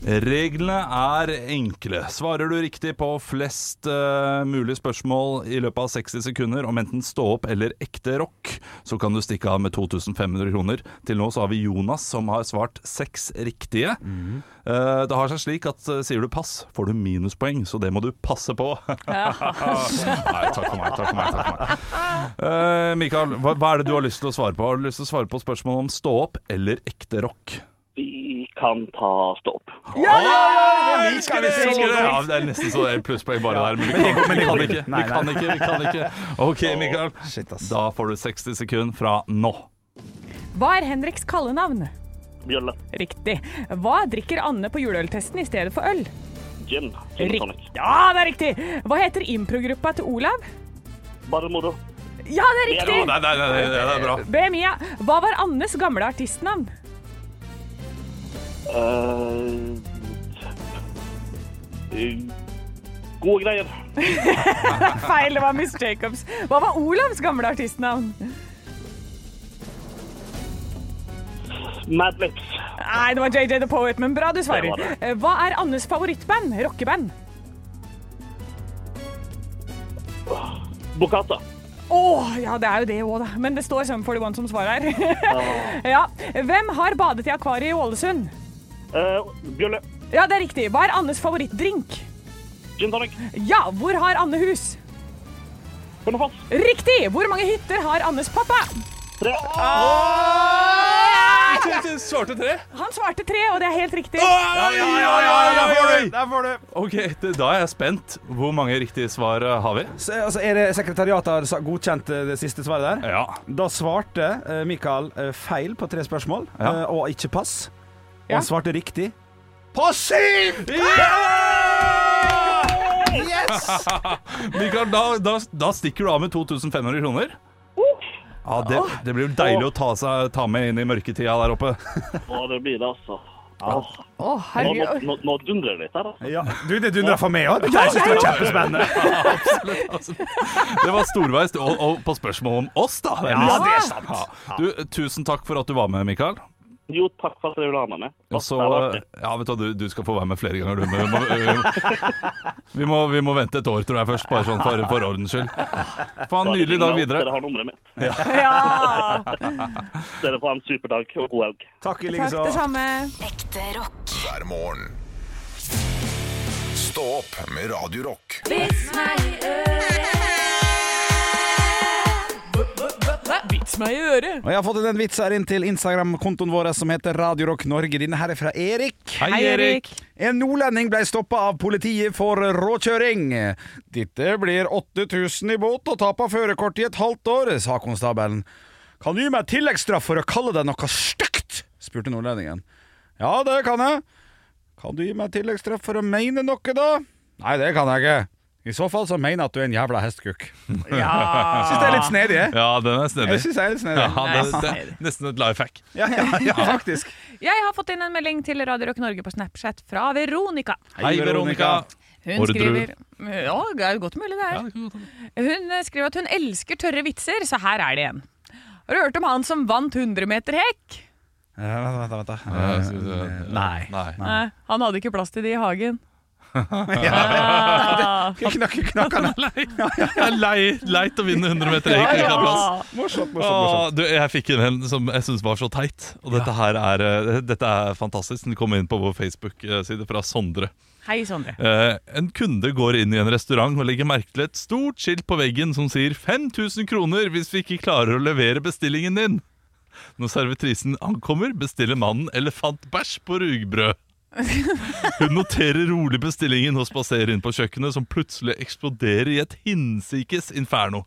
Speaker 3: Reglene er enkle. Svarer du riktig på flest eh, mulig spørsmål i løpet av 60 sekunder om enten stå opp eller ekte rock, så kan du stikke av med 2500 kroner. Til nå så har vi Jonas som har svart seks riktige. Eh, det har seg slik at eh, sier du pass, får du minuspoeng, så det må du passe på. Nei, takk for meg. takk for meg, takk for meg. Eh, Mikael, hva, hva er det du har lyst til å svare på? Har du lyst til å svare på spørsmålet om stå opp eller ekte rock?
Speaker 8: Vi kan ta stå opp.
Speaker 3: Jeg elsker det! Jeg elsker det! Ja, det er nesten så det er plusspoeng bare der, men vi kan, vi kan ikke. Vi kan ikke, vi kan ikke. Ok, Mikael.
Speaker 7: Shit, ass.
Speaker 3: Da får du 60 sekunder fra nå.
Speaker 2: Hva er Henriks kallenavn?
Speaker 8: Bjølle.
Speaker 2: Riktig. Hva drikker Anne på juleøltesten i stedet for øl?
Speaker 8: Gin. Gin og tonic.
Speaker 2: Riktig. Ja, det er riktig! Hva heter improgruppa til Olav?
Speaker 8: Bare moro.
Speaker 2: Ja, det er
Speaker 8: Det er
Speaker 2: riktig!
Speaker 3: Nei, nei, nei, det er bra.
Speaker 2: BMIA. Hva var Annes gamle artistnavn?
Speaker 8: Eh, eh, gode greier.
Speaker 2: Feil, det var Miss Jacobs. Hva var Olavs gamle artistnavn?
Speaker 8: Mad Lips.
Speaker 2: Nei, det var JJ The Poet, men bra du svarer.
Speaker 8: Det var det.
Speaker 2: Eh, Hva er Annes favorittband? Rockeband?
Speaker 8: Bocata.
Speaker 2: Å, ja, det er jo det òg, da. Men det står Sum 41 som svar her. ja. Hvem har badet i akvariet i Ålesund?
Speaker 8: Eh, Bjølle.
Speaker 2: Ja, det er riktig. Hva er Annes favorittdrink?
Speaker 8: Gin tonic.
Speaker 2: Ja, hvor har Anne hus?
Speaker 8: Hønefoss.
Speaker 2: Riktig! Hvor mange hytter har Annes pappa?
Speaker 8: Tre.
Speaker 3: Svarte tre?
Speaker 2: Han svarte tre, og det er helt riktig.
Speaker 7: Der får du! Der får du.
Speaker 3: Ok, det, Da er jeg spent. Hvor mange riktige svar eh, har vi?
Speaker 4: Så, altså, er det sekretariatet har sa- godkjent eh, det siste svaret der?
Speaker 3: Ja.
Speaker 4: Da svarte eh, Mikael eh, feil på tre spørsmål,
Speaker 3: Ja.
Speaker 4: eh, og ikke pass. Og
Speaker 2: Ja.
Speaker 4: han svarte riktig.
Speaker 3: Mikael, da, da, da stikker du av med 2500 kroner. Ja, det, det blir jo deilig å ta, seg, ta med inn i mørketida der oppe.
Speaker 8: Ja, det blir det, altså.
Speaker 2: Å,
Speaker 8: Ja. Nå, nå,
Speaker 2: herregud.
Speaker 8: nå, nå dundrer det litt her, altså.
Speaker 4: Ja. Du, det dundra for meg òg. Det syns jeg var kjempespennende.
Speaker 3: Det var storveis, og, og på spørsmål om oss, da. Det er mest-
Speaker 2: det er
Speaker 3: Ja. Du, tusen takk for at du var med, Mikael.
Speaker 8: Jo, takk for at dere ville ha meg med.
Speaker 3: Og så, eh,
Speaker 8: Det var artig.
Speaker 3: ja, vet du, hva, du, du skal få være med flere ganger, du. Men vi, må, vi, må, vi må vente et år, tror jeg, først. Bare sånn for, for ordens skyld. Få en nydelig dag
Speaker 8: Dere
Speaker 3: videre.
Speaker 8: har nummeret mitt.
Speaker 2: Ja.
Speaker 8: Dere får ha en super dag og god helg.
Speaker 4: Takk i like
Speaker 2: Takk,
Speaker 4: så.
Speaker 2: det samme.
Speaker 5: Ekte rock.
Speaker 1: hver morgen. Stå opp med Radio Rock.
Speaker 2: Vits meg i øret.
Speaker 4: Og Jeg har fått en vits her inn til Instagram-kontoen vår som heter Radio Rock Norge. Denne her er fra Erik.
Speaker 2: Hei, Erik.
Speaker 4: En nordlending ble stoppa av politiet for råkjøring. Dette blir 8000 i bot og tap av førerkort i et halvt år, sa konstabelen. Kan du gi meg tilleggsstraff for å kalle deg noe stygt? spurte nordlendingen. Ja, det kan jeg. Kan du gi meg tilleggsstraff for å mene noe, da? Nei, det kan jeg ikke. I så fall så mener jeg at du er en jævla hestkukk. Ja. Syns det er litt snedig. jeg.
Speaker 3: Ja, den er
Speaker 4: Jeg
Speaker 3: snedig.
Speaker 4: syns jeg er litt snedig.
Speaker 3: Ja, det, det, er nesten et life hack.
Speaker 4: Ja, ja, ja, faktisk.
Speaker 2: Jeg har fått inn en melding til Radio Rock Norge på Snapchat fra Veronica.
Speaker 3: Hei, Veronica.
Speaker 2: Hun
Speaker 3: Ordre.
Speaker 2: skriver Ja, det er jo godt mulig, det er. Hun eh, skriver at hun elsker tørre vitser, så her er det en. Har du hørt om han som vant 100 meter hekk?
Speaker 4: Ja, Vent, da, vent, da.
Speaker 3: Ja, så- så-
Speaker 4: Nei.
Speaker 3: Eh, Nei.
Speaker 2: Nei, han hadde ikke plass til de i hagen.
Speaker 4: Knakk, knakk, knakk.
Speaker 3: Lei. Det er lei, leit å vinne 100 meter hekk. ikke ha plass. Sånn
Speaker 4: Morsomt, morsomt, morsomt.
Speaker 3: Åh, du, jeg fikk inn en som jeg syns var så teit. Og dette her er, eh, dette er fantastisk. Den kom inn på vår Facebook-side fra Sondre.
Speaker 2: Hei, Sondre.
Speaker 3: Eh, en kunde går inn i en restaurant og legger merke til et stort skilt på veggen som sier 5000 kroner hvis vi ikke klarer å levere bestillingen din. Når servitrisen ankommer, bestiller mannen elefantbæsj på rugbrød. Hun noterer rolig bestillingen og spaserer inn på kjøkkenet, som plutselig eksploderer i et hinsikes inferno.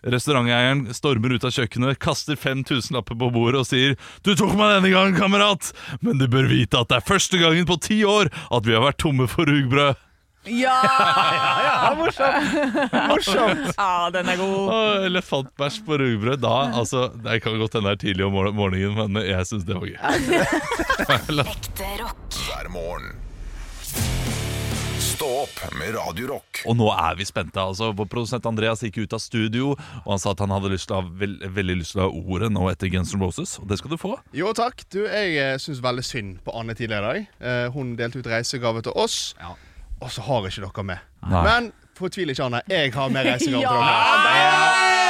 Speaker 3: Restauranteieren stormer ut av kjøkkenet, kaster fem tusenlapper på bordet og sier Du tok meg denne gangen, kamerat, men du bør vite at det er første gangen på ti år at vi har vært tomme for rugbrød.
Speaker 2: Ja!
Speaker 4: morsomt.
Speaker 2: Ah, den er god.
Speaker 3: Åh, elefantbæsj på rugbrød. Da, altså, det kan godt hende det er tidlig om morgen- morgenen, men jeg syns det var gøy.
Speaker 5: Ekte rock.
Speaker 1: hver morgen. Stå opp med Radio Rock.
Speaker 3: Og nå er vi spente. altså. Vår produsent Andreas gikk ut av studio, og han sa at han hadde lyst til å ha vel- veldig lyst til å ha ordet nå etter Guns N' Roses, og det skal du få.
Speaker 9: Jo takk. Du, jeg syns veldig synd på Anne tidligere i dag. Eh, hun delte ut reisegave til oss, og så har ikke dere med.
Speaker 3: Nei.
Speaker 9: Men fortvil ikke, Anne. Jeg har med reisegave til dere.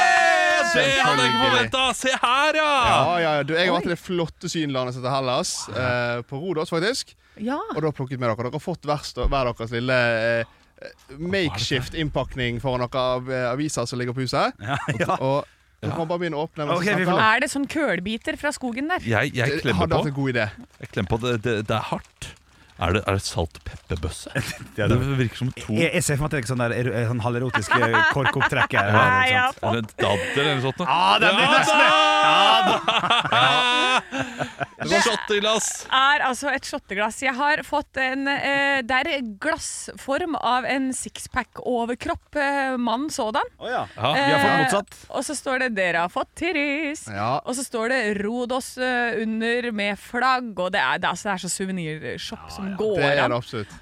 Speaker 3: Det hadde jeg ikke forventa! Se her, ja!
Speaker 9: Ja, ja, ja. Du, jeg har vært i det flotte synlandet som heter Hellas, eh, på Rodos faktisk.
Speaker 2: Ja.
Speaker 9: Og da plukket med dere. Dere har fått hver, stå- hver deres lille eh, makeshift innpakning foran noen av, eh, aviser som ligger på huset.
Speaker 4: Ja, ja.
Speaker 9: Og dere kan bare begynne å åpne.
Speaker 4: Ok, vi får lov.
Speaker 2: Er det sånn kølbiter fra skogen der?
Speaker 3: Jeg, jeg
Speaker 9: Jeg
Speaker 3: klemmer
Speaker 9: hadde
Speaker 3: på.
Speaker 10: altså-
Speaker 9: hatt en god idé.
Speaker 3: Jeg klemmer på. Det, det, det er hardt. Er det, er det salt pepperbøsse?
Speaker 4: Ja,
Speaker 3: Det
Speaker 4: det-
Speaker 3: virker som to
Speaker 10: Eh,
Speaker 4: Jeg, jeg ser for meg at det er sånn, der, er, er sånn halverotisk eh, korkopptrekker.
Speaker 2: Nei,
Speaker 4: eller
Speaker 2: ja.
Speaker 10: eh,
Speaker 4: noe sånt.
Speaker 3: Eller en dadder eller noe sånt.
Speaker 10: Ah,
Speaker 4: Ja,
Speaker 3: noe.
Speaker 4: Ah, det blir nesten det.
Speaker 3: Shotteglass!
Speaker 2: er altså et shotteglass. Jeg har fått en eh, Det er glassform av en sixpack-overkropp, eh, mann sådan.
Speaker 4: Å, ja.
Speaker 3: Ja,
Speaker 4: Vi har fått
Speaker 2: Eh,
Speaker 4: motsatt.
Speaker 2: Og så står det 'Dere har fått tiris'.
Speaker 9: Ja.
Speaker 2: Og så står det 'Rodos' eh, under med flagg, og det er, det er, altså, det er så suvenirshop som går
Speaker 9: Det er
Speaker 2: an.
Speaker 9: det absolutt.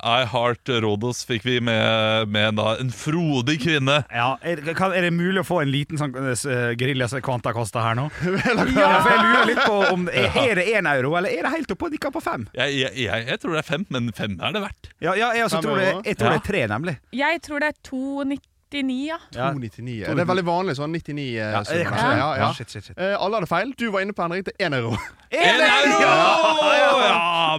Speaker 3: I Heart Rodos fikk vi med, med da, en frodig kvinne.
Speaker 4: Ja, er, kan, er det mulig å få en liten sånn uh, geriljas Quanta Costa her nå? Ja, for jeg lurer litt på om er, er det én euro, eller er det helt oppå nikka på fem?
Speaker 3: Jeg, jeg, jeg, jeg tror det er fem, men fem er det verdt.
Speaker 4: Ja, ja jeg, også
Speaker 9: Fem
Speaker 4: tror det,
Speaker 9: euro?
Speaker 4: jeg tror det er tre, nemlig.
Speaker 2: Jeg tror det er 2,90. 299, ja.
Speaker 10: Ja.
Speaker 9: 299. Ja, Det er veldig vanlig sånn 99. eh,
Speaker 10: Ja,
Speaker 9: summer,
Speaker 10: det er
Speaker 9: kanskje.
Speaker 10: kanskje-
Speaker 9: ja, ja.
Speaker 10: Shit, shit, shit.
Speaker 9: Eh, alle hadde feil. Du var inne på Henrik til 1 euro.
Speaker 3: En euro! Ja,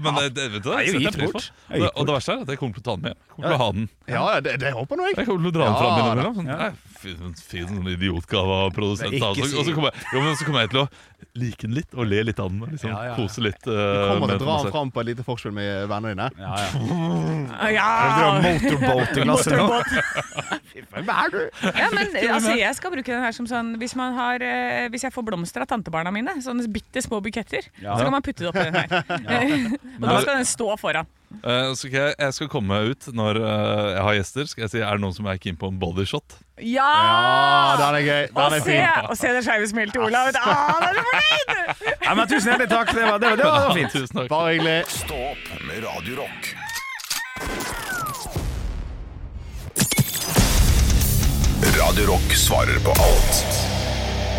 Speaker 3: men det, det, vet du, det
Speaker 10: er jo
Speaker 3: setter jeg
Speaker 10: gitt
Speaker 3: pris på.
Speaker 10: bort. Det er
Speaker 3: Det,
Speaker 10: gitt
Speaker 3: og det verste er at jeg kommer til å ta den med. Jeg kommer til å ha den.
Speaker 9: Ja, ja, det, det håper nå jeg.
Speaker 3: Jeg kommer til å dra den
Speaker 9: Ja,
Speaker 3: fram
Speaker 9: da.
Speaker 3: innimellom. Sånn, nei, Fin, fin sånn idiotgave av produsent.
Speaker 10: Det er ikke
Speaker 3: Altså. Og så
Speaker 10: si-
Speaker 3: kommer jeg, jo, men så kommer jeg til å like den litt og le litt av den. og Liksom,
Speaker 10: Ja, ja, ja.
Speaker 3: Kose litt. eh,
Speaker 9: Kommer
Speaker 3: med
Speaker 9: til å dra
Speaker 3: den
Speaker 9: han fram på et lite forspill med vennene dine.
Speaker 10: Ja, ja.
Speaker 2: ja.
Speaker 4: Motorboat i glasset nå.
Speaker 9: Hvem er du?
Speaker 2: Ja, men altså, jeg skal bruke den her som sånn Hvis, man har, eh, hvis jeg får blomster av tantebarna mine, sånne bitte små buketter, så kan man putte det oppi den her. Og da skal den stå foran.
Speaker 3: Eh, så skal jeg, jeg skal komme meg ut når eh, jeg har gjester. Skal jeg si, Er det noen som er keen på en bodyshot?
Speaker 2: Ja!
Speaker 9: Ja, Ah, den er gøy. Den
Speaker 2: og,
Speaker 9: er
Speaker 2: se,
Speaker 9: fin.
Speaker 2: og se det skeive smilet til Olav. Ah, da er du fornøyd!
Speaker 4: Nei, men Tusen hjertelig takk. Det var, det var, det var fint.
Speaker 3: Tusen takk.
Speaker 9: Bare hyggelig.
Speaker 1: Stå opp med Radio Rock. Radio Rock svarer på alt.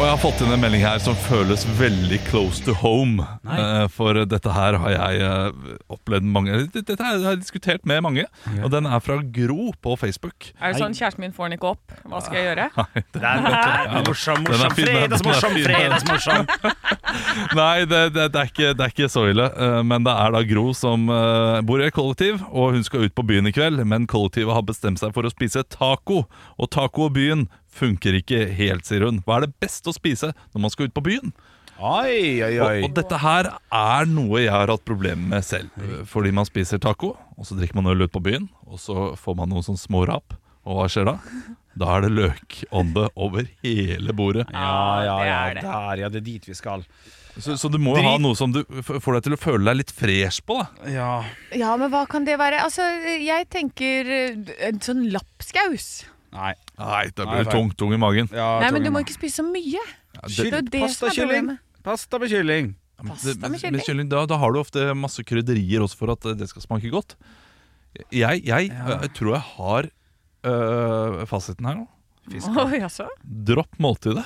Speaker 3: Og jeg har fått inn en melding her som føles veldig close to home. Eh, for dette her har jeg eh, opplevd mange Dette her har jeg diskutert med mange. Og den er fra Gro på Facebook.
Speaker 2: Er det sånn kjæresten min får den ikke opp? Hva skal jeg gjøre?
Speaker 4: Morsom,
Speaker 3: Den er
Speaker 4: morsom,
Speaker 3: fin, den.
Speaker 4: fredags, morsom,
Speaker 3: Den er fin, den.
Speaker 4: fredags, morsom.
Speaker 3: Nei, det, det, det, er ikke, det er ikke så ille. eh, Men det er da Gro som eh, bor i et kollektiv, og hun skal ut på byen i kveld. Men kollektivet har bestemt seg for å spise taco, og taco og byen funker ikke helt, sier hun. Hva er det beste å spise når man skal ut på byen?
Speaker 4: Oi, oi,
Speaker 3: Og, og dette her er noe jeg har hatt problemer med selv. eh, Fordi man spiser taco, og så drikker man øl ut på byen, og så får man noen sånne små rap. Og hva skjer da? Da er det løkånde over hele bordet.
Speaker 4: Ja, ja, ja,
Speaker 2: Det er det.
Speaker 4: der, ja, det er dit vi skal.
Speaker 3: Så, så du må jo ha noe som du f- får deg til å føle deg litt fresh på. da
Speaker 4: Ja.
Speaker 2: Ja, men hva kan det være? Altså, jeg tenker eh, en sånn lapskaus.
Speaker 4: Nei.
Speaker 3: Nei, da
Speaker 4: Nei,
Speaker 3: blir du
Speaker 4: feil.
Speaker 3: tung, tung i magen.
Speaker 4: Ja,
Speaker 2: Nei, men du
Speaker 4: Torgrim.
Speaker 2: må ikke spise så mye.
Speaker 3: Ja,
Speaker 2: Det er
Speaker 3: det-
Speaker 2: jo det som er
Speaker 4: Pastakylling.
Speaker 2: problemet.
Speaker 4: Pasta med kylling.
Speaker 2: Pasta med
Speaker 3: men- men
Speaker 2: kylling.
Speaker 3: kylling, da, da har du ofte masse krydderier også for at eh, det skal smake godt. Jeg, jeg eh, tror jeg har øh, fasiten her nå.
Speaker 2: Å, jaså?
Speaker 3: Dropp måltidet.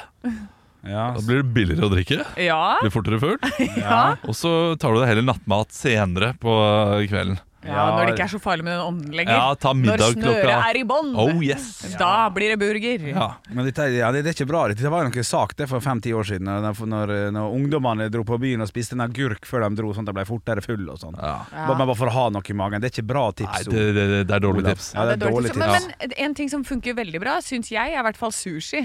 Speaker 4: Ja,
Speaker 3: Da blir det billigere å drikke.
Speaker 2: Ja.
Speaker 3: Blir fortere full.
Speaker 2: Ja.
Speaker 3: Og så tar du deg heller nattmat senere på eh, kvelden.
Speaker 2: ja, når det ikke er så farlig med den ånden lenger.
Speaker 3: Ja, ta
Speaker 2: når
Speaker 3: middag
Speaker 2: snøret
Speaker 3: klokka
Speaker 2: er i bånn,
Speaker 3: Oh yes!
Speaker 2: da blir det burger.
Speaker 3: Ja.
Speaker 4: Men dette, ja, det, det er ikke bra. Dette var jo noen sak det for fem-ti år siden, når, når, når ungdommene dro på byen og spiste en agurk før de dro, sånn at de ble fortere full og sånn.
Speaker 3: Ja.
Speaker 4: Bare, men bare for å ha noe i magen. Det er ikke bra
Speaker 3: Nei,
Speaker 4: tips.
Speaker 3: det, det, det er dårlige
Speaker 4: Olav.
Speaker 3: tips.
Speaker 4: Ja, det er dårlig
Speaker 2: tips.
Speaker 4: tips.
Speaker 2: Men, men en ting som funker veldig bra, syns jeg, er i hvert fall sushi.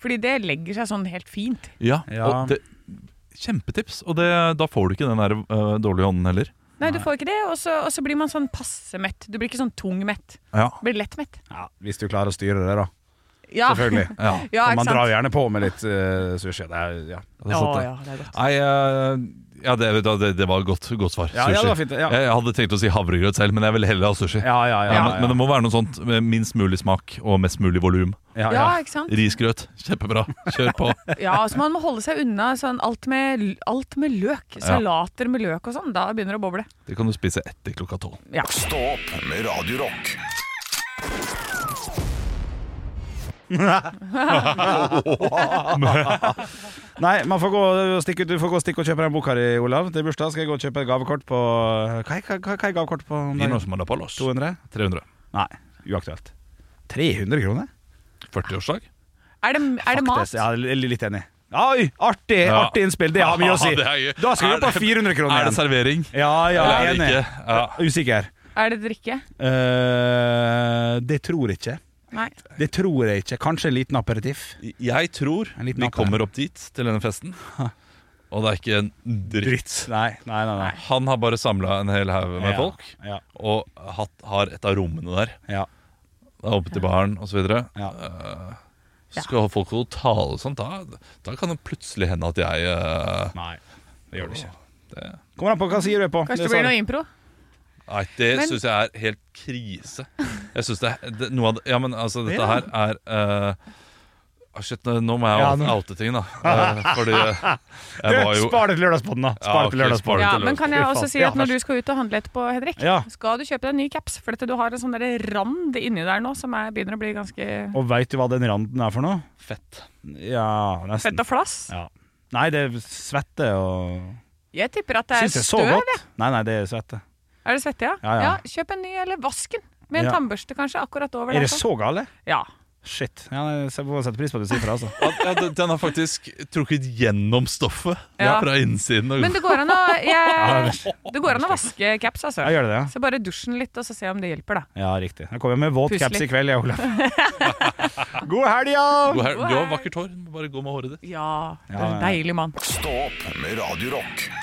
Speaker 2: Fordi det legger seg sånn helt fint.
Speaker 3: Ja,
Speaker 4: Ja.
Speaker 3: Og det, kjempetips. Og det, da får du ikke den der eh, dårlige ånden heller.
Speaker 2: Nei, du får ikke det, og så, og så blir man sånn passe mett. Du blir ikke sånn tung mett.
Speaker 3: Ja.
Speaker 2: Du blir lett mett.
Speaker 4: Ja, hvis du klarer å styre det, da.
Speaker 2: Ja.
Speaker 4: Selvfølgelig.
Speaker 3: ja.
Speaker 2: Ja,
Speaker 4: For
Speaker 2: ikke
Speaker 4: man
Speaker 2: sant?
Speaker 4: drar jo gjerne på med litt eh, sushi. Det er, ja.
Speaker 3: Det er sant,
Speaker 2: Å,
Speaker 3: det.
Speaker 2: ja, det er godt.
Speaker 3: Nei, eh, ja, det, vet du hva, det, det var godt, godt svar.
Speaker 4: Ja, ja, det var fint, ja.
Speaker 3: Jeg, jeg hadde tenkt å si havregrøt selv, men jeg vil heller ha sushi.
Speaker 4: Ja, ja, ja,
Speaker 3: Ja,
Speaker 4: ja,
Speaker 3: men, men det må være noe sånt med minst mulig smak og mest mulig volum.
Speaker 4: ja,
Speaker 2: Ja,
Speaker 4: ja.
Speaker 2: ikke sant?
Speaker 3: Risgrøt, kjempebra. Kjør på.
Speaker 2: Ja, så Man må holde seg unna sånn alt med, alt med løk. Salater med løk og sånn. Da begynner det å boble.
Speaker 3: Det kan du spise etter klokka tolv.
Speaker 2: Ja.
Speaker 1: Stå opp med Radio Rock.
Speaker 4: Nei, man får gå og stikke, du får gå og stikke og kjøpe den boka di, Olav. Til bursdag skal jeg gå og kjøpe et gavekort på Hva er, hva, hva hva er gavekort på om dagen?
Speaker 3: Vino som er da på lås.
Speaker 4: 200?
Speaker 3: 300.
Speaker 4: Nei, uaktuelt. 300 kroner?
Speaker 3: 40-årsdag?
Speaker 2: Er det, er det mat?
Speaker 4: Faktisk, Ja, jeg er litt enig. Oi, artig,
Speaker 3: Ja.
Speaker 4: artig innspill. Det har mye å si.
Speaker 3: Det er gøy.
Speaker 4: Da skal vi
Speaker 3: Er
Speaker 4: opp på
Speaker 3: det-
Speaker 4: 400 kroner
Speaker 3: Er det
Speaker 4: igjen.
Speaker 3: servering?
Speaker 4: Ja, ja,
Speaker 3: Eller er det
Speaker 4: enig.
Speaker 3: ikke? Ja.
Speaker 4: Usikker.
Speaker 2: Er det drikke?
Speaker 4: Eh, det tror jeg ikke.
Speaker 2: Nei.
Speaker 4: Det tror jeg ikke. Kanskje en liten aperitif.
Speaker 3: Jeg tror
Speaker 4: En liten
Speaker 3: vi
Speaker 4: app,
Speaker 3: kommer opp dit til denne festen, og det er ikke en dritt.
Speaker 4: Nei, nei, nei. nei.
Speaker 3: Han har bare samla en hel haug med
Speaker 4: Ja,
Speaker 3: folk,
Speaker 4: Ja,
Speaker 3: og hatt, har et av rommene der.
Speaker 4: ja.
Speaker 3: Det er oppe til baren osv.
Speaker 4: Ja.
Speaker 3: Øh.
Speaker 2: Ja.
Speaker 3: Så skal folk holde tale og sånt. Da, da kan det plutselig hende at jeg eh,
Speaker 4: Nei, det gjør det ikke.
Speaker 3: det-
Speaker 4: Kommer an på hva sier du er på.
Speaker 2: Kanskje
Speaker 4: Det
Speaker 2: det sånn- blir
Speaker 4: sa
Speaker 2: noe
Speaker 4: du.
Speaker 2: impro?
Speaker 3: Nei, det
Speaker 2: Men-
Speaker 3: syns jeg er helt krise. Jeg synes det, er- det noe av det, Ja, men altså, dette her er eh, ah, Shit, nå må jeg
Speaker 4: Ja,
Speaker 3: out-
Speaker 4: nå-
Speaker 3: oute ting, da. Eh, fordi jeg var
Speaker 4: Du,
Speaker 3: jo
Speaker 4: Spar det til lørdagspodden, da. Spar
Speaker 3: Ja,
Speaker 4: det til
Speaker 3: ok, spar
Speaker 4: lørdagspodden.
Speaker 3: det
Speaker 2: Ja,
Speaker 3: til
Speaker 2: men kan jeg
Speaker 4: Fy
Speaker 2: også
Speaker 4: faen.
Speaker 2: si at
Speaker 4: Ja,
Speaker 2: når
Speaker 4: vær
Speaker 2: du skal ut og handle etterpå, Henrik,
Speaker 4: Ja.
Speaker 2: skal du kjøpe deg en ny caps. For dette, du har en sånn der rand inni der nå som er, begynner å bli ganske
Speaker 4: Og veit du hva den randen er for noe?
Speaker 3: fett.
Speaker 4: Ja, nesten.
Speaker 2: fett og flass.
Speaker 4: Ja. Nei, det er svette og
Speaker 2: Jeg tipper at det
Speaker 4: Syns
Speaker 2: er
Speaker 4: jeg så
Speaker 2: støv.
Speaker 4: godt. Nei, nei, det er svette.
Speaker 2: Er det svette, ja?
Speaker 4: Ja, ja.
Speaker 2: Kjøp en ny, eller vask den. Med en
Speaker 4: Ja.
Speaker 2: tannbørste, kanskje, akkurat over
Speaker 4: Er
Speaker 2: der.
Speaker 4: det så gale?
Speaker 2: Ja.
Speaker 4: Shit. Ja, nei, jeg må sette pris på at du sier fra, altså.
Speaker 3: Ja, ja, den- den har faktisk trukket gjennom stoffet
Speaker 2: Ja.
Speaker 3: fra innsiden. Og,
Speaker 2: Men det går an å, jeg, det går an å vaske caps, altså.
Speaker 4: Ja, gjør det det, ja.
Speaker 2: Så bare dusj den litt, og så se om det hjelper, da.
Speaker 4: Ja, riktig. Jeg kommer med våt
Speaker 2: Pusselig.
Speaker 4: caps i kveld, jeg, Olav. God helg, ja!
Speaker 3: du har du har vakkert hår. Bare gå med håret ditt.
Speaker 2: Ja,
Speaker 4: ja, ja.
Speaker 2: deilig mann.
Speaker 1: Stå opp med Radio Rock.